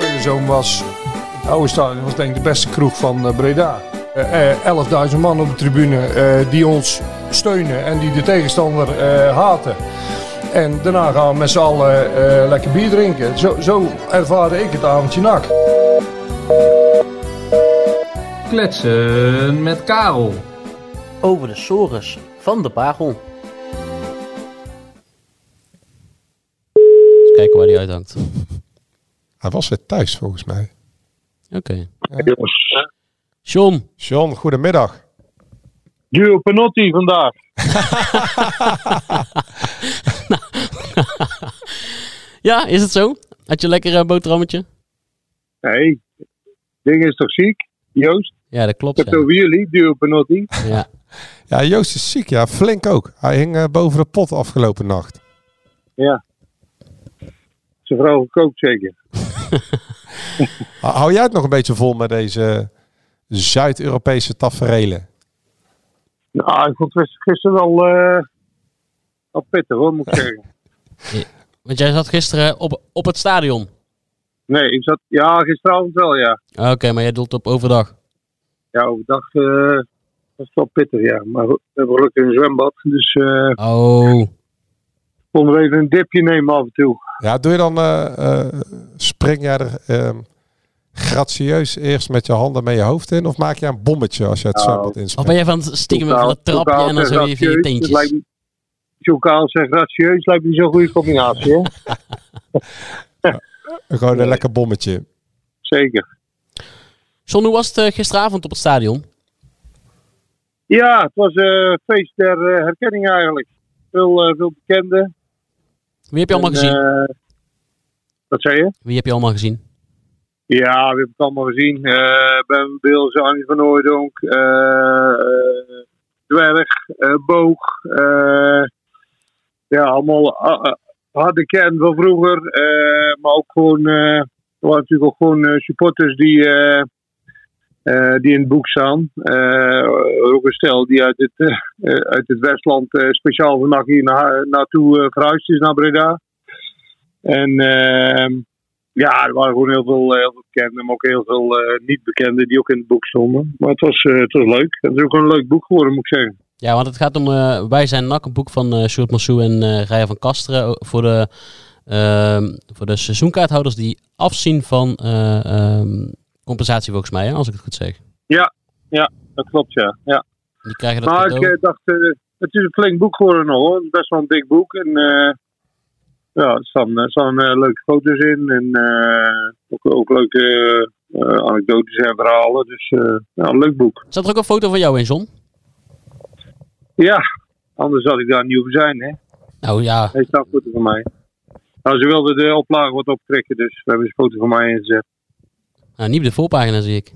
Speaker 8: Mijn zoon was, het oude stadion was denk ik de beste kroeg van eh, Breda. Eh, eh, 11.000 man op de tribune eh, die ons steunen en die de tegenstander eh, haten. En daarna gaan we met z'n allen eh, lekker bier drinken. Zo, zo ervaarde ik het avondje nak.
Speaker 9: Kletsen met Karel.
Speaker 10: Over de sores van de parel.
Speaker 6: Eens kijken waar die uithangt. Oké.
Speaker 7: Hij was weer thuis, volgens mij.
Speaker 6: John,
Speaker 7: John, goedemiddag.
Speaker 11: Duo Penotti vandaag.
Speaker 6: ja, is het zo? Had je een lekker eh, boterhammetje?
Speaker 11: Nee, ding is toch ziek? Joost,
Speaker 6: Ja, dat klopt.
Speaker 11: dat
Speaker 6: ja.
Speaker 11: over jullie, Duo Penotti.
Speaker 6: Ja.
Speaker 7: Ja, Joost is ziek, ja. Flink ook. Hij hing eh, boven de pot afgelopen nacht.
Speaker 11: Ja. Zijn vrouw gekookt zeker.
Speaker 7: H- Hou jij het nog een beetje vol met deze Zuid-Europese taferelen?
Speaker 11: Nou, ik vond het gisteren wel, eh wel pittig hoor, moet ik zeggen.
Speaker 6: Want jij zat gisteren op, op het stadion.
Speaker 11: Nee, ik zat, ja, gisteravond wel ja.
Speaker 6: Oké, maar jij doelt op overdag.
Speaker 11: Ja, overdag eh, was het wel pittig ja. Maar we hebben gelukkig een zwembad, dus eh
Speaker 6: Oh.
Speaker 11: konden we even een dipje nemen af en toe.
Speaker 7: Ja, doe je dan, eh, eh, spring jij er ehm, gracieus eerst met je handen met je hoofd in? Of maak je een bommetje als je het zwembad
Speaker 6: Of ben
Speaker 7: inspringt?
Speaker 6: jij van het stiekem van het trapje en dan zo even je
Speaker 11: dus
Speaker 6: teentjes?
Speaker 11: Jokaal zegt ratieus, lijkt me niet zo'n goede combinatie hè.
Speaker 7: Gewoon een lekker bommetje.
Speaker 11: Zeker.
Speaker 6: John, hoe was het eh, gisteravond op het stadion?
Speaker 11: Ja, het was een feest der eh, herkenning eigenlijk. Veel, eh, veel bekenden.
Speaker 6: Wie heb je allemaal
Speaker 11: En,
Speaker 6: gezien?
Speaker 11: eh, wat zei je?
Speaker 6: Wie heb je allemaal gezien?
Speaker 11: Ja, we hebben het allemaal gezien. Eh ben Beelze, Arnie van Hooijdonk, eh eh, Dwerg, eh, Boog. eh, ja, allemaal ah, ah, harde kern van vroeger. eh, maar ook gewoon, eh, er waren natuurlijk ook gewoon eh, supporters die, eh, eh, die in het boek staan. Eh, ook een stel die uit het, eh, eh, uit het Westland eh, speciaal vannacht hier na- naartoe eh, verhuisd is naar Breda. En ehm, ja, er waren gewoon heel veel, eh, heel veel bekenden, maar ook heel veel eh, niet-bekenden die ook in het boek stonden. Maar het was, eh, het was leuk. Het is ook gewoon een leuk boek geworden, moet ik zeggen.
Speaker 6: Ja, want het gaat om eh, Wij zijn NAC, een boek van eh Sjoerd Massou en eh Raya van Kasteren. o- Voor de, ehm, voor de seizoenkaarthouders die afzien van eh, ehm, compensatie volgens mij, hè, als ik het goed zeg.
Speaker 11: Dat klopt, ja. ja.
Speaker 6: Die krijgen dat
Speaker 11: Maar ik
Speaker 6: cadeau.
Speaker 11: eh, dacht, eh, het is een flink boek geworden nog hoor. Het is best wel een dik boek. En eh, ja, er staan, er staan eh, leuke foto's in. En eh, ook, ook leuke eh, eh, anekdotes en verhalen. Dus eh, ja, een leuk boek.
Speaker 6: Zat er ook een foto van jou in, John?
Speaker 11: Ja, anders had ik daar niet hoeven zijn, hè.
Speaker 6: Nou ja,
Speaker 11: Hij staat foto van mij. Nou, ze wilden de oplage wat optrekken, dus we hebben een foto van mij ingezet.
Speaker 6: nou, niet op de voorpagina zie ik.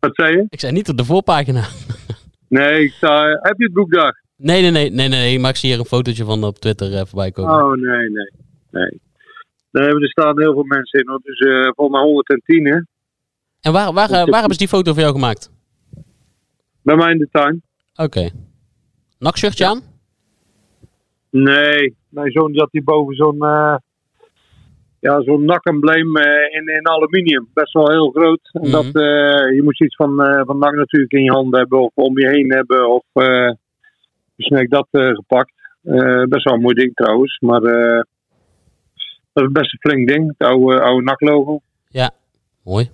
Speaker 11: Wat zei je?
Speaker 6: Ik zei niet op de voorpagina.
Speaker 11: Nee, ik sta, heb je het boek daar?
Speaker 6: Nee, nee, nee, nee, nee, nee. Maar ik zie hier een fotootje van op Twitter eh, voorbij komen.
Speaker 11: Oh, nee, nee. nee. Daar hebben er staan heel veel mensen in. hoor. Dus eh volgens mij 110, hè?
Speaker 6: En waar, waar, eh, waar hebben ze die foto van jou gemaakt?
Speaker 11: Bij mij in de tuin.
Speaker 6: Oké. Nakshirtje aan?
Speaker 11: Nee, mijn zoon die had hier boven zo'n... eh, ja, zo'n nakembleem eh, in, in aluminium. Best wel heel groot. En
Speaker 6: Mhm.
Speaker 11: dat, eh, je moest iets van, eh van nak natuurlijk in je handen hebben. Of om je heen hebben. Of eh dus nee, ik dat eh, gepakt. Eh, best wel een mooi ding trouwens, maar eh, dat is best een flink ding, het oude, oude NAC-logo.
Speaker 6: Ja, mooi.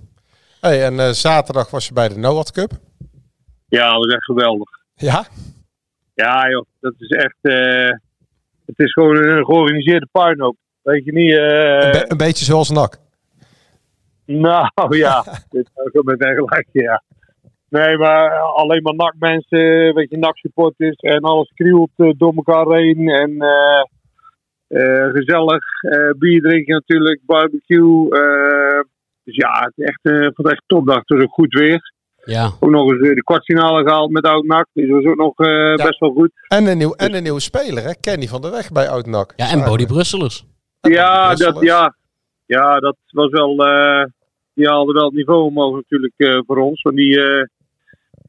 Speaker 7: Hey, en eh, zaterdag was je bij de NOAD Cup.
Speaker 11: Ja, dat is echt geweldig.
Speaker 7: Ja?
Speaker 11: Ja, joh, dat is echt. eh, het is gewoon een georganiseerde puinhoop. Weet je niet. eh,
Speaker 7: Be- een beetje zoals NAC.
Speaker 11: nou ja, dit zou ik met gelijk, ja. Nee, maar alleen maar nakmensen, weet je, naksupporters en alles krielt eh, door elkaar heen. En eh, eh, gezellig, eh, bier drinken natuurlijk, barbecue. eh, dus ja, het is echt, eh, ik vond het echt een topdag. Het was ook goed weer.
Speaker 6: Ja.
Speaker 11: Ook nog eens eh, de kwartfinale gehaald met Oud-Nak. Dus dat was ook nog eh, best wel goed.
Speaker 7: En een, nieuw, en een nieuwe speler, hè? Kenny van der Weg bij Oud-NAC.
Speaker 6: Ja, en Bodie Brusselers.
Speaker 11: Ja, dat,
Speaker 7: Brusselers.
Speaker 11: ja. ja, dat was wel. eh, die haalden wel het niveau omhoog natuurlijk eh, voor ons. Want die, eh,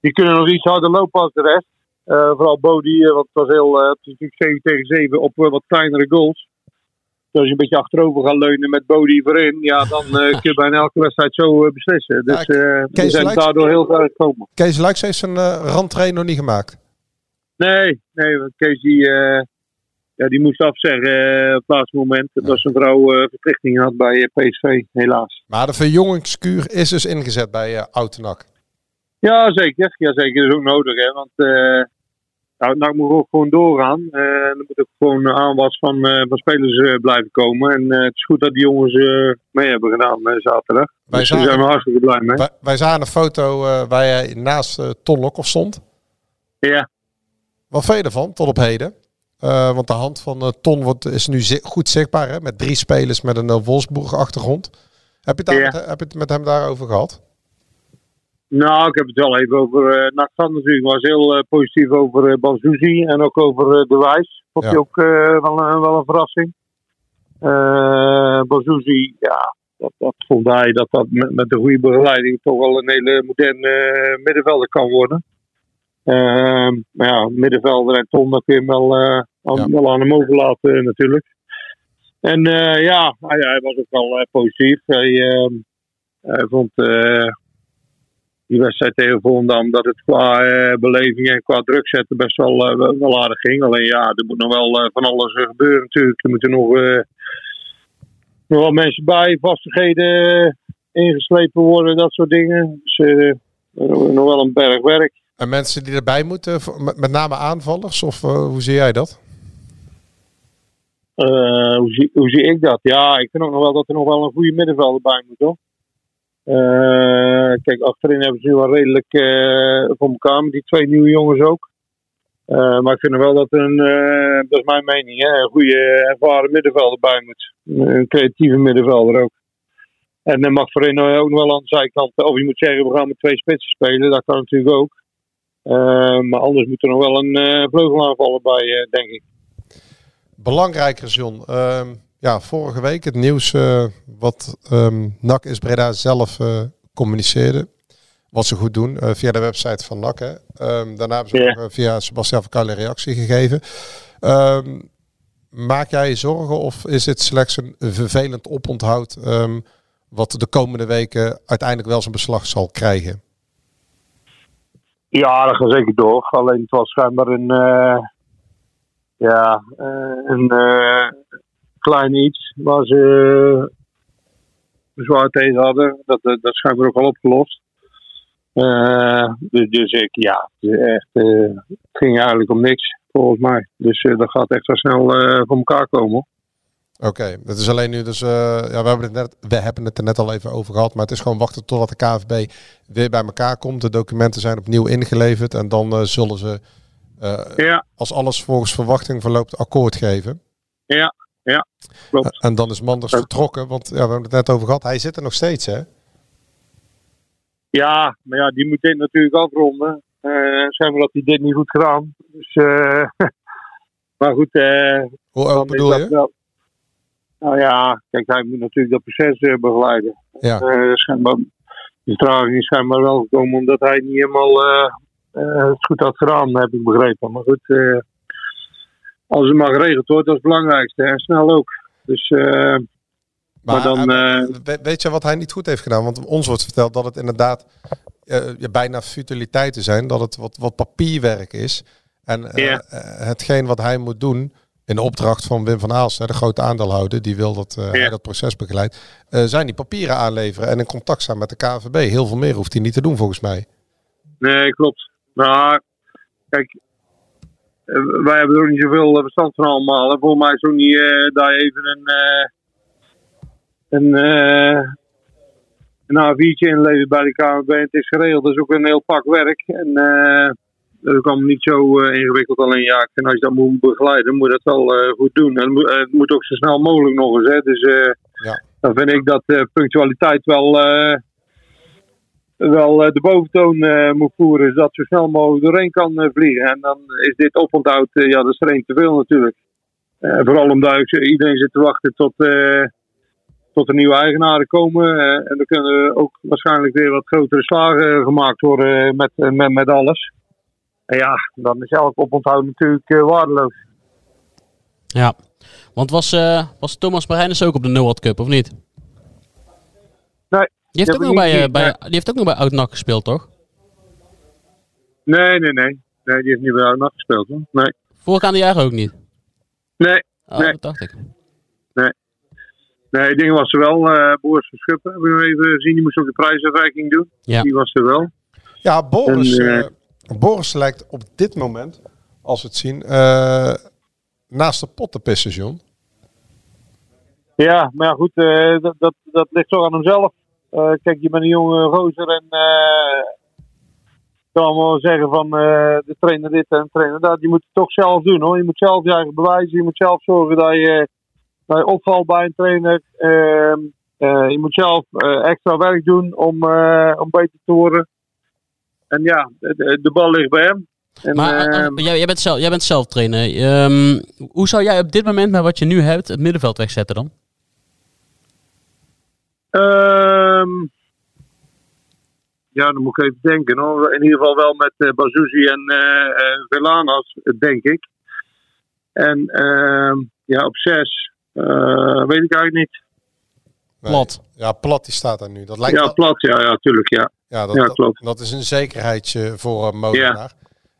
Speaker 11: die kunnen nog iets harder lopen als de rest. Eh, vooral Bodie, eh, want het was heel. eh, het is natuurlijk 7 tegen 7 op eh, wat kleinere goals. Dus als je een beetje achterover gaat leunen met Bodie voorin, ja, dan eh, kun je bijna elke wedstrijd zo eh, beslissen. Dus eh we
Speaker 7: Kees
Speaker 11: zijn
Speaker 7: Luijks-
Speaker 11: daardoor heel ver gekomen.
Speaker 7: Kees Luijks heeft zijn eh, randtrainer nog niet gemaakt.
Speaker 11: Nee, nee, want Kees die, eh, ja, die moest afzeggen eh, op het laatste moment. Dat was zijn vrouw eh, verplichting had bij eh, PSV, helaas.
Speaker 7: Maar de verjongingskuur is dus ingezet bij eh Oud-NAC.
Speaker 11: Ja, zeker. Ja, zeker. Dat is ook nodig, hè. Want eh nou, nou moet ook gewoon doorgaan. Eh er moet ook gewoon aanwas van, eh, van spelers eh, blijven komen. En eh, het is goed dat die jongens eh, mee hebben gedaan eh, zaterdag.
Speaker 7: Wij
Speaker 11: dus daar
Speaker 7: zagen-
Speaker 11: zijn we hartstikke blij mee.
Speaker 7: Wij, wij zagen een foto eh, waar jij naast eh Ton Lokhoff stond.
Speaker 11: Ja.
Speaker 7: Wat vind je ervan, tot op heden? Eh, want de hand van eh, Ton wordt, is nu zi- goed zichtbaar, hè? Met drie spelers met een eh, Wolfsburg-achtergrond. Heb je, het daar
Speaker 11: Ja.
Speaker 7: met, heb je het met hem daarover gehad?
Speaker 11: Nou, ik heb het wel even over eh NAC gehad natuurlijk. Ik was heel eh, positief over eh Banzuzi en ook over eh, De Wijs. Vond
Speaker 7: Ja.
Speaker 11: hij ook eh, wel, een, wel een verrassing. Eh Banzuzi, ja, dat, dat vond hij dat dat met, met de goede begeleiding toch wel een hele moderne eh, middenvelder kan worden. Ehm, maar ja, middenvelder en Tom, dat kun je hem wel, eh, aan,
Speaker 7: Ja.
Speaker 11: wel aan hem overlaten eh, natuurlijk. En eh, ja, hij, hij was ook wel eh, positief. Hij, ehm, hij vond eh, die wedstrijd tegen Volendam dat het qua eh, beleving en qua druk zetten best wel, eh, wel- wel aardig ging. Alleen ja, er moet nog wel eh, van alles eh, gebeuren natuurlijk. Er moeten nog, eh, nog wel mensen bij, vastigheden eh, ingeslepen worden, dat soort dingen. Dus eh, er- nog wel een berg werk.
Speaker 7: En mensen die erbij moeten, voor- met, met name aanvallers? Of eh, hoe zie jij dat?
Speaker 11: Eh, hoe, zie, hoe zie ik dat? Ja, ik vind ook nog wel dat er nog wel een goede middenvelder bij moet, hoor. Eh, kijk, achterin hebben ze nu wel redelijk eh, voor elkaar met die twee nieuwe jongens ook. Eh, maar ik vind nog wel dat er een, eh, dat is mijn mening, hè, een goede eh, ervaren middenvelder bij moet. Een creatieve middenvelder ook. En dan mag voorin eh, ook nog wel aan de zijkant. Of je moet zeggen, we gaan met twee spitsen spelen. Dat kan natuurlijk ook. Eh, maar anders moet er nog wel een eh vleugelaanvaller bij, eh, denk ik.
Speaker 7: Belangrijker, John. Ehm, ja, vorige week het nieuws eh, wat ehm NAC is Breda zelf eh, communiceerde. Wat ze goed doen eh, via de website van NAC. Hè. Ehm, daarna hebben ze
Speaker 11: Ja.
Speaker 7: ook, eh, via Sebastian van Kuil een reactie gegeven. Ehm, maak jij je zorgen of is dit slechts een vervelend oponthoud... ehm, wat de komende weken uiteindelijk wel zijn beslag zal krijgen?
Speaker 11: Ja, dat gaat zeker door. Alleen het was schijnbaar een, eh, ja, eh, een eh, klein iets waar ze bezwaar tegen hadden. Dat, dat, dat is schijnbaar ook al opgelost. Eh, dus, dus ik, ja, het, is echt, eh, het ging eigenlijk om niks, volgens mij. Dus eh, dat gaat echt wel snel eh, voor elkaar komen. hoor.
Speaker 7: Oké, dat is alleen nu dus. eh, ja, we, hebben het net, we hebben het er net al even over gehad. Maar het is gewoon wachten totdat de KVB weer bij elkaar komt. De documenten zijn opnieuw ingeleverd. En dan eh, zullen ze, eh,
Speaker 11: Ja,
Speaker 7: als alles volgens verwachting verloopt, akkoord geven.
Speaker 11: ja, ja. Klopt.
Speaker 7: En dan is Manders
Speaker 11: Ja.
Speaker 7: vertrokken. Want ja, we hebben het net over gehad. Hij zit er nog steeds, hè?
Speaker 11: Ja, maar ja, die moet dit natuurlijk afronden. Eh zijn we dat hij dit niet goed gedaan. Dus, eh, maar goed, eh,
Speaker 7: Hoe oud
Speaker 11: dan is
Speaker 7: bedoel
Speaker 11: dat
Speaker 7: je?
Speaker 11: wel- Nou ja, kijk, hij moet natuurlijk dat proces eh, begeleiden.
Speaker 7: Ja.
Speaker 11: Eh, schijnbaar, de vertraging is schijnbaar wel gekomen omdat hij niet helemaal eh, eh, het goed had gedaan, heb ik begrepen. Maar goed, eh, als het maar geregeld wordt, dat is het belangrijkste. En snel ook. Dus eh, maar dan,
Speaker 7: eh,
Speaker 11: eh,
Speaker 7: we- weet je wat hij niet goed heeft gedaan? Want ons wordt verteld dat het inderdaad eh, ja, bijna futiliteiten zijn. Dat het wat, wat papierwerk is. En eh,
Speaker 11: Ja.
Speaker 7: eh, hetgeen wat hij moet doen in de opdracht van Wim van Aals, hè, de grote aandeelhouder, die wil dat eh, hij dat proces begeleidt, eh, zijn die papieren aanleveren en in contact staan met de KNVB. Heel veel meer hoeft hij niet te doen volgens mij.
Speaker 11: Nee, klopt. Maar kijk, eh, wij hebben er ook niet zoveel eh, verstand van allemaal. En volgens mij is het ook niet eh dat je even een, eh een, eh een A4'tje inlevert bij de KNVB en het is geregeld. Dat is ook een heel pak werk. En eh, dat is ook allemaal niet zo eh, ingewikkeld. Alleen ja, ik vind als je dat moet begeleiden, moet je dat wel eh, goed doen. En het moet, eh, het moet ook zo snel mogelijk nog eens. Hè. Dus eh, dan vind ik dat eh, punctualiteit wel... eh, wel eh, de boventoon eh, moet voeren, zodat zo snel mogelijk doorheen kan eh, vliegen. En dan is dit oponthoud, eh, ja, dat is er één te veel natuurlijk. Eh, vooral omdat ik- iedereen zit te wachten tot, eh, tot er nieuwe eigenaren komen. eh, en dan kunnen er ook waarschijnlijk weer wat grotere slagen eh, gemaakt worden eh, met, eh, met, met alles. En ja, dan is elk oponthoud natuurlijk eh, waardeloos.
Speaker 6: Ja. Want was, eh, was Thomas Marijnus ook op de Noord Cup, of niet?
Speaker 11: Nee,
Speaker 6: Die heeft,
Speaker 11: dat
Speaker 6: ook nog
Speaker 11: heb ik
Speaker 6: bij,
Speaker 11: niet
Speaker 6: eh,
Speaker 11: gezien,
Speaker 6: bij,
Speaker 11: nee.
Speaker 6: die heeft ook nog bij Oud-NAC gespeeld, toch?
Speaker 11: Nee, nee, nee. Nee, die heeft niet bij Oud-NAC gespeeld. Hoor. Nee.
Speaker 6: Voorgaande jaren ook niet.
Speaker 11: Nee.
Speaker 6: Oh,
Speaker 11: nee.
Speaker 6: dat dacht ik.
Speaker 11: Nee. Nee, ik denk was er wel. eh Boris van Schuppen hebben we even gezien. Die moest ook de prijsuitreiking doen.
Speaker 6: Ja.
Speaker 11: Die was er wel.
Speaker 7: Ja, Boris,
Speaker 11: En, eh,
Speaker 7: eh, Boris lijkt op dit moment, als we het zien, eh, naast de pot te pissen, John.
Speaker 11: Ja, maar ja, goed, eh, dat, dat, dat ligt toch aan hemzelf. Eh, kijk, je bent een jonge gozer en eh, ik kan allemaal zeggen van eh, de trainer dit en de trainer dat. Je moet het toch zelf doen hoor. Je moet zelf je eigen bewijzen. Je moet zelf zorgen dat je, dat je opvalt bij een trainer. Ehm, eh, je moet zelf eh, extra werk doen om, eh, om beter te worden. En ja, de, de bal ligt bij hem. En,
Speaker 6: Maar eh,
Speaker 11: ehm,
Speaker 6: eh, jij, jij, bent zelf, jij bent zelf trainer. Ehm, hoe zou jij op dit moment, met wat je nu hebt, het middenveld wegzetten dan?
Speaker 11: Ehm ja, dan moet ik even denken. Hoor. In ieder geval wel met eh Bazouzi en eh eh, Velanas, eh, denk ik. En ehm, ja, op zes eh, weet ik eigenlijk niet.
Speaker 6: Plat.
Speaker 7: Ja, plat die staat daar nu. Dat lijkt
Speaker 11: ja,
Speaker 7: wel-
Speaker 11: plat, ja, ja, tuurlijk, ja.
Speaker 7: Ja, dat,
Speaker 11: ja,
Speaker 7: dat-
Speaker 11: klopt.
Speaker 7: Dat, is een zekerheidje voor eh Molenaar.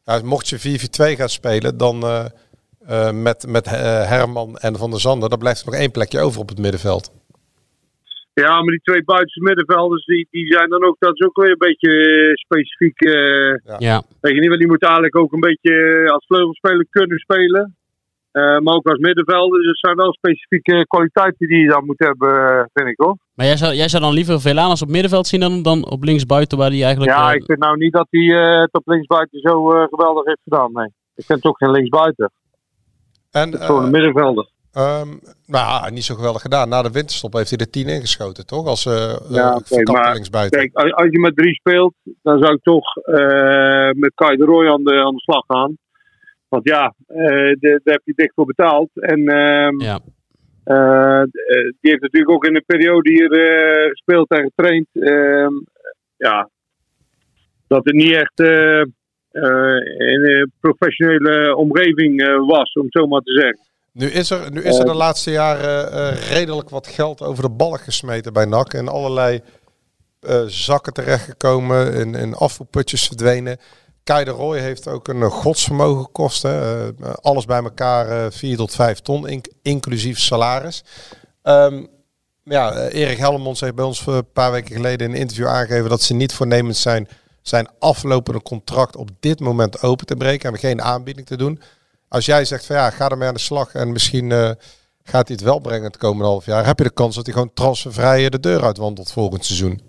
Speaker 7: Ja, mocht je 4-4-2 gaan spelen, dan eh, eh, met, met eh, Herman en Van der Zanden, dan blijft er nog één plekje over op het middenveld.
Speaker 11: Ja, maar die twee buitenste middenvelders, die, die zijn dan ook, dat is ook weer een beetje eh, specifiek. eh,
Speaker 6: Ja.
Speaker 11: Weet je niet, want die moet eigenlijk ook een beetje eh, als vleugelspeler kunnen spelen. Eh, maar ook als middenvelder. Dus het zijn wel specifieke kwaliteiten die je dan moet hebben, eh, vind ik hoor.
Speaker 6: Maar jij zou, jij zou dan liever Velanas op middenveld zien dan, dan op linksbuiten, waar hij eigenlijk...
Speaker 11: Ja,
Speaker 6: eh,
Speaker 11: ik vind nou niet dat hij eh, het op linksbuiten zo eh, geweldig heeft gedaan. Nee. Ik vind het ook geen linksbuiten.
Speaker 7: En, eh,
Speaker 11: Eh, het is gewoon een middenvelder.
Speaker 7: Ehm, nou, ja, niet zo geweldig gedaan. Na de winterstop heeft hij de 10 ingeschoten, toch? Als eh
Speaker 11: Ja,
Speaker 7: eh,
Speaker 11: oké,
Speaker 7: verkapte
Speaker 11: maar
Speaker 7: linksbuiten.
Speaker 11: Kijk, als, als je met drie speelt, dan zou ik toch eh, met Kai de Roy aan de, aan de slag gaan. Want ja, eh, de- daar heb je dik voor betaald. En ehm,
Speaker 6: Ja.
Speaker 11: eh, d- eh, die heeft natuurlijk ook in de periode hier eh, gespeeld en getraind. Ehm, ja, dat het niet echt eh, eh, in een professionele omgeving eh, was, om het zo maar te zeggen.
Speaker 7: Nu is er, nu is er de laatste jaren eh, redelijk wat geld over de ballen gesmeten bij NAC. En allerlei eh, zakken terechtgekomen, in, in afvoerputjes verdwenen. Kai de Roy heeft ook een eh, godsvermogen gekost. Hè. Eh, alles bij elkaar eh 4 tot 5 ton, inc- inclusief salaris. Ehm, ja, eh, Erik Helmond heeft bij ons eh, een paar weken geleden in een interview aangegeven dat ze niet voornemens zijn zijn aflopende contract op dit moment open te breken en geen aanbieding te doen. Als jij zegt van ja, ga ermee aan de slag en misschien eh, gaat hij het wel brengen het komende half jaar, heb je de kans dat hij gewoon transfervrij eh, de deur uitwandelt volgend seizoen.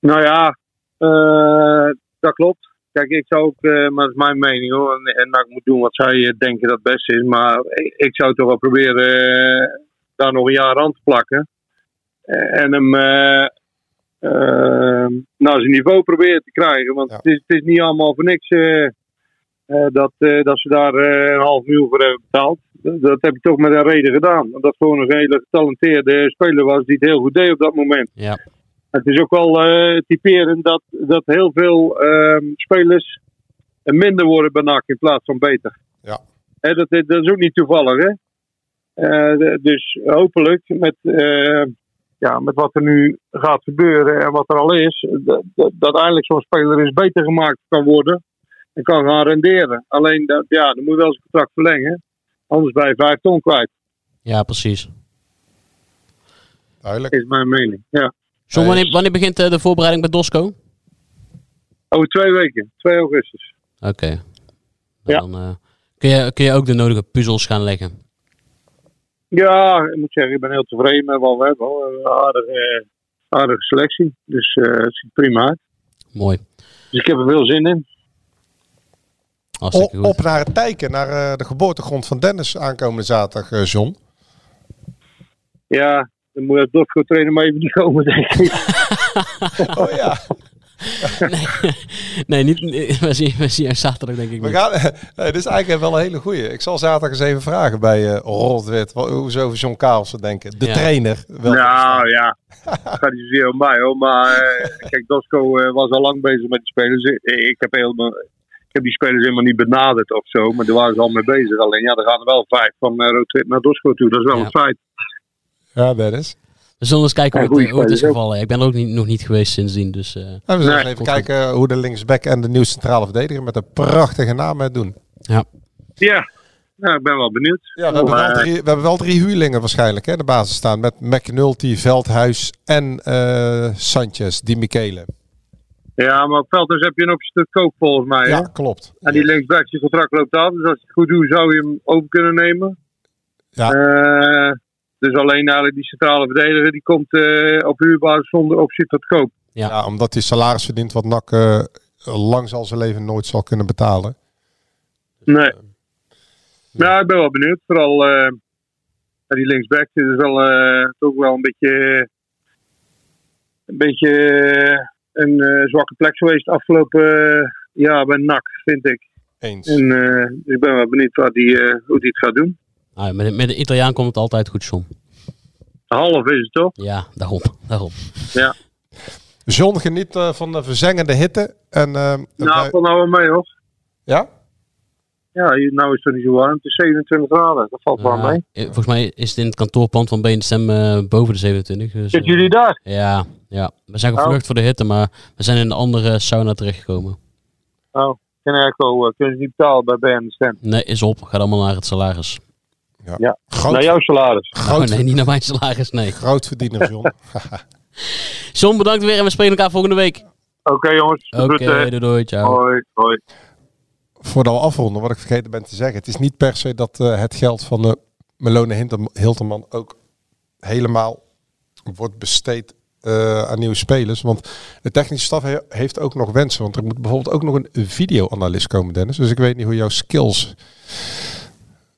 Speaker 11: Nou ja, eh, dat klopt. Kijk, ik zou ook, eh, maar dat is mijn mening hoor, en, en dat ik moet doen wat zij eh, denken dat het beste is. Maar ik, ik zou toch wel proberen eh, daar nog een jaar aan te plakken. Eh, En hem eh, eh, naar zijn niveau proberen te krijgen. Want het, is, het is niet allemaal voor niks eh, eh, dat, eh, dat ze daar eh, een half miljoen voor hebben betaald. Dat, dat heb ik toch met een reden gedaan. Omdat het gewoon een hele getalenteerde speler was die het heel goed deed op dat moment.
Speaker 6: Ja.
Speaker 11: Het is ook wel eh, typerend dat, dat heel veel ehm, spelers minder worden bij NAC in plaats van beter.
Speaker 7: Ja.
Speaker 11: Hè, dat, dat is ook niet toevallig, hè? Eh, de- dus hopelijk met, eh, ja, met wat er nu gaat gebeuren en wat er al is, dat, dat, dat eindelijk zo'n speler eens beter gemaakt kan worden. en kan gaan renderen. Alleen dat, ja, dan moet je wel zijn contract verlengen. Anders ben je vijf ton kwijt.
Speaker 6: Ja, precies.
Speaker 7: Duidelijk.
Speaker 11: Is mijn mening. Ja.
Speaker 6: John, wanneer, wanneer begint eh, de voorbereiding bij Dosco? Oké.
Speaker 11: Over twee weken, 2 augustus.
Speaker 6: Dan eh, kun, je, kun je ook de nodige puzzels gaan leggen.
Speaker 11: Ja, ik moet zeggen, ik ben heel tevreden met wat we hebben. hoor. We hebben Een aardige, eh, aardige selectie. Dus eh, het ziet prima uit.
Speaker 6: Mooi.
Speaker 11: Dus ik heb er veel zin in.
Speaker 7: O- op naar het kijken, naar eh, de geboortegrond van Dennis aankomende zaterdag, eh, John.
Speaker 11: Ja, dan moet dat Dosco trainer maar even niet komen, denk ik.
Speaker 7: oh ja.
Speaker 6: Nee, niet, nee, we, zien, we zien jou zaterdag denk ik
Speaker 7: We
Speaker 6: niet.
Speaker 7: gaan, nee, dit is eigenlijk wel een hele goeie. Ik zal zaterdag eens even vragen bij eh Rodwit. wa- Hoe ze over John Karelsen denken. De
Speaker 11: Ja.
Speaker 7: trainer. Wel.
Speaker 11: Nou ja, het gaat niet zozeer om mij hoor. Maar eh, kijk, Dosco eh, was al lang bezig met die spelers. Ik, ik heb helemaal, ik heb die spelers helemaal niet benaderd of zo. Maar daar waren ze al mee bezig. Alleen ja, er gaan er wel vijf van eh Rood naar Dosco toe. Dat is wel een feit.
Speaker 7: Ja, Dennis.
Speaker 6: We zullen eens kijken
Speaker 7: Ja,
Speaker 6: hoe, het, eh,
Speaker 7: goeie
Speaker 6: hoe het is
Speaker 7: spelers ook.
Speaker 6: gevallen. Ik ben er ook niet, nog niet geweest sindsdien. Dus, eh,
Speaker 7: En we zullen
Speaker 6: komt
Speaker 7: even
Speaker 6: goed.
Speaker 7: kijken eh, hoe de linksback en de nieuwe centrale verdediger met een prachtige naam het doen.
Speaker 6: Ja.
Speaker 11: Ja, nou, ik ben wel benieuwd.
Speaker 7: Ja, we, hebben
Speaker 11: Maar,
Speaker 7: wel drie, we hebben wel drie huurlingen waarschijnlijk hè, in de basis staan. Met McNulty, Veldhuis en eh, Sanchez, Di Michele.
Speaker 11: eh, Ja, maar op Veldhuis heb je een optie te koop volgens mij.
Speaker 7: Ja,
Speaker 11: hè?
Speaker 7: klopt.
Speaker 11: En die linksback, zijn contract loopt af. Dus als je het goed doet, zou je hem over kunnen nemen.
Speaker 7: Ja.
Speaker 11: dus alleen eigenlijk die centrale verdediger, die komt eh, op huurbasis zonder optie tot koop.
Speaker 7: Ja. omdat hij salaris verdient wat NAC eh, lang zal zijn leven nooit zal kunnen betalen.
Speaker 11: Nee. Nou, ik ben wel benieuwd. Vooral eh, die linksback dit is wel, eh, toch wel een beetje, een, beetje eh, een eh, zwakke plek geweest afgelopen eh, jaar bij NAC, vind ik.
Speaker 7: Eens.
Speaker 11: En, eh, dus ik ben wel benieuwd wat die, eh, hoe die het gaat doen.
Speaker 6: ah, met, met de Italiaan komt het altijd goed, John.
Speaker 11: Half is het toch?
Speaker 6: Ja, daarom. daarom.
Speaker 11: Ja.
Speaker 7: John geniet eh, van de verzengende hitte. En, eh,
Speaker 11: Nou, valt nou wel mee, hoor.
Speaker 7: Ja?
Speaker 11: Ja, hier- nou is het niet zo warm. Het is 27 graden. Dat valt wel
Speaker 6: Ah,
Speaker 11: mee.
Speaker 6: eh, volgens mij is het in het kantoorpand van BNSM eh boven de 27. Dus,
Speaker 11: Zitten
Speaker 6: eh,
Speaker 11: jullie daar?
Speaker 6: ja, ja, we zijn gevlucht voor de hitte, maar we zijn in een andere sauna terechtgekomen.
Speaker 11: Oh, geen airco. eh, Kunnen ze niet betalen bij BNSM?
Speaker 6: Nee, is op. Gaat allemaal naar het salaris.
Speaker 11: Ja.
Speaker 7: Groot-
Speaker 11: Naar jouw salaris.
Speaker 6: Oh, nee, niet naar mijn salaris, nee.
Speaker 7: Grootverdiener, John.
Speaker 6: John, bedankt weer en we spelen elkaar volgende week.
Speaker 11: Oké, jongens.
Speaker 6: Oké,
Speaker 11: Groeten.
Speaker 6: doei, doei, ciao.
Speaker 11: Hoi, hoi.
Speaker 7: Voordat we afronden, wat ik vergeten ben te zeggen. Het is niet per se dat eh, het geld van eh, Melone Hinter- Hilterman ook helemaal wordt besteed eh, aan nieuwe spelers. Want de technische staf he- heeft ook nog wensen. Want er moet bijvoorbeeld ook nog een videoanalist komen, Dennis. Dus ik weet niet hoe jouw skills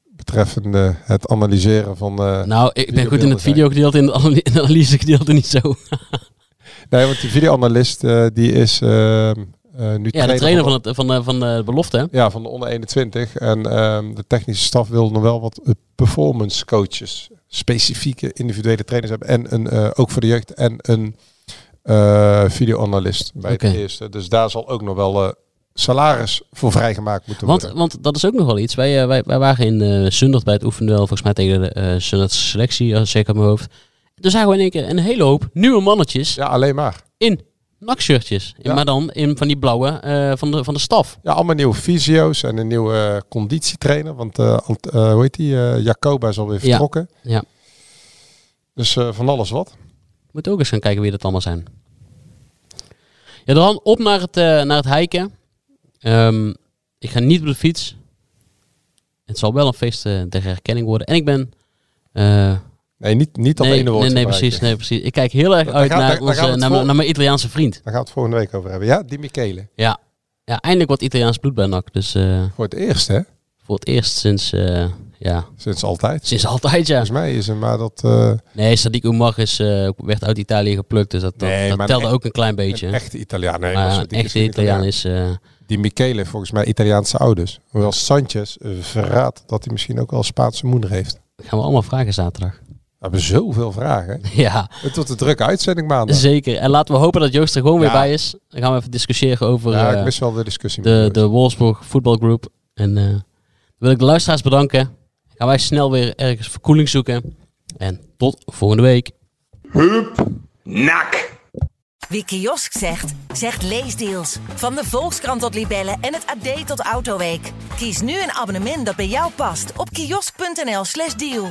Speaker 7: betreffende het analyseren van... eh,
Speaker 6: Nou, ik ben goed in
Speaker 7: videobeelden
Speaker 6: het
Speaker 7: zijn.
Speaker 6: videogedeelte, in het ana- in het analysegedeelte niet zo.
Speaker 7: Nee, want die videoanalist eh, die is ehm, eh, nu
Speaker 6: Ja, de trainer van,
Speaker 7: de-
Speaker 6: het, van, de, van de belofte, hè?
Speaker 7: Ja, van de onder 21. En ehm, de technische staf wil nog wel wat eh, performance coaches. Specifieke individuele trainers hebben. En een, eh, ook voor de jeugd. En een eh, videoanalist bij
Speaker 6: Oké.
Speaker 7: het eerste. Dus daar zal ook nog wel eh, salaris voor vrijgemaakt moeten
Speaker 6: Want,
Speaker 7: worden.
Speaker 6: want dat is ook nog wel iets. Wij, eh, wij, wij waren in eh Sundert bij het oefenduel, volgens mij tegen de eh Sundertse selectie, als ik uit mijn hoofd. Toen zagen we in één keer een hele hoop nieuwe mannetjes
Speaker 7: Ja, alleen maar.
Speaker 6: in nakshirtjes.
Speaker 7: Ja.
Speaker 6: Maar dan in van die blauwe eh, van, de, van de staf.
Speaker 7: Ja, allemaal nieuwe fysio's en een nieuwe eh, conditietrainer. Want eh, Ant- eh, hoe heet die? eh Jacoba is alweer
Speaker 6: Ja.
Speaker 7: vertrokken.
Speaker 6: Ja.
Speaker 7: Dus eh, van alles wat.
Speaker 6: Moet ook eens gaan kijken wie dat allemaal zijn. Ja, dan op naar het, eh, naar het hiken. Ehm, ik ga niet op de fiets. Het zal wel een feest eh, der herkenning worden. En ik ben... eh,
Speaker 7: Nee, niet, niet dat
Speaker 6: nee,
Speaker 7: ene woord
Speaker 6: nee, nee,
Speaker 7: gebruiken.
Speaker 6: precies, nee, precies. Ik kijk heel erg
Speaker 7: Daar
Speaker 6: uit
Speaker 7: gaat- daar-
Speaker 6: naar,
Speaker 7: daar
Speaker 6: onze,
Speaker 7: gaan we het
Speaker 6: naar, mijn-
Speaker 7: vol-
Speaker 6: naar mijn Italiaanse vriend.
Speaker 7: Daar gaan we het volgende week over hebben. Ja, die Michele.
Speaker 6: Ja. ja, eindelijk wat Italiaans bloed bij NAC. Dus eh,
Speaker 7: Voor het eerst, hè?
Speaker 6: voor het eerst sinds, eh, ja,
Speaker 7: Sinds altijd.
Speaker 6: sinds altijd ja.
Speaker 7: Volgens mij is hem maar dat... eh,
Speaker 6: Nee, Sadiq Umar is, eh, werd uit Italië geplukt, dus dat, dat,
Speaker 7: Nee,
Speaker 6: dat
Speaker 7: maar
Speaker 6: telde
Speaker 7: een-
Speaker 6: ook een klein beetje.
Speaker 7: Een echte Italiaan. Nee,
Speaker 6: Maar
Speaker 7: was
Speaker 6: ja,
Speaker 7: het
Speaker 6: een
Speaker 7: niet.
Speaker 6: echte
Speaker 7: Is een
Speaker 6: Italiaan is... eh,
Speaker 7: Die Michele, volgens mij Italiaanse ouders. Hoewel Sanchez eh, verraadt dat hij misschien ook wel Spaanse moeder heeft.
Speaker 6: gaan we allemaal vragen zaterdag.
Speaker 7: We hebben zoveel vragen.
Speaker 6: Ja,
Speaker 7: Het wordt een drukke uitzending maandag.
Speaker 6: zeker. En laten we hopen dat Joost er gewoon weer
Speaker 7: Ja.
Speaker 6: bij is. Dan gaan we even discussiëren over
Speaker 7: Ja, ik
Speaker 6: eh,
Speaker 7: mis wel de discussie. met
Speaker 6: de,
Speaker 7: Joost.
Speaker 6: de Wolfsburg Football Group. En eh, dan wil ik de luisteraars bedanken. Gaan wij snel weer ergens verkoeling zoeken. En tot volgende week.
Speaker 9: Hup, nak.
Speaker 1: Wie kiosk zegt, zegt leesdeals. Van de Volkskrant tot Libellen en het AD tot Autoweek. Kies nu een abonnement dat bij jou past op kiosk.nl/slash deal.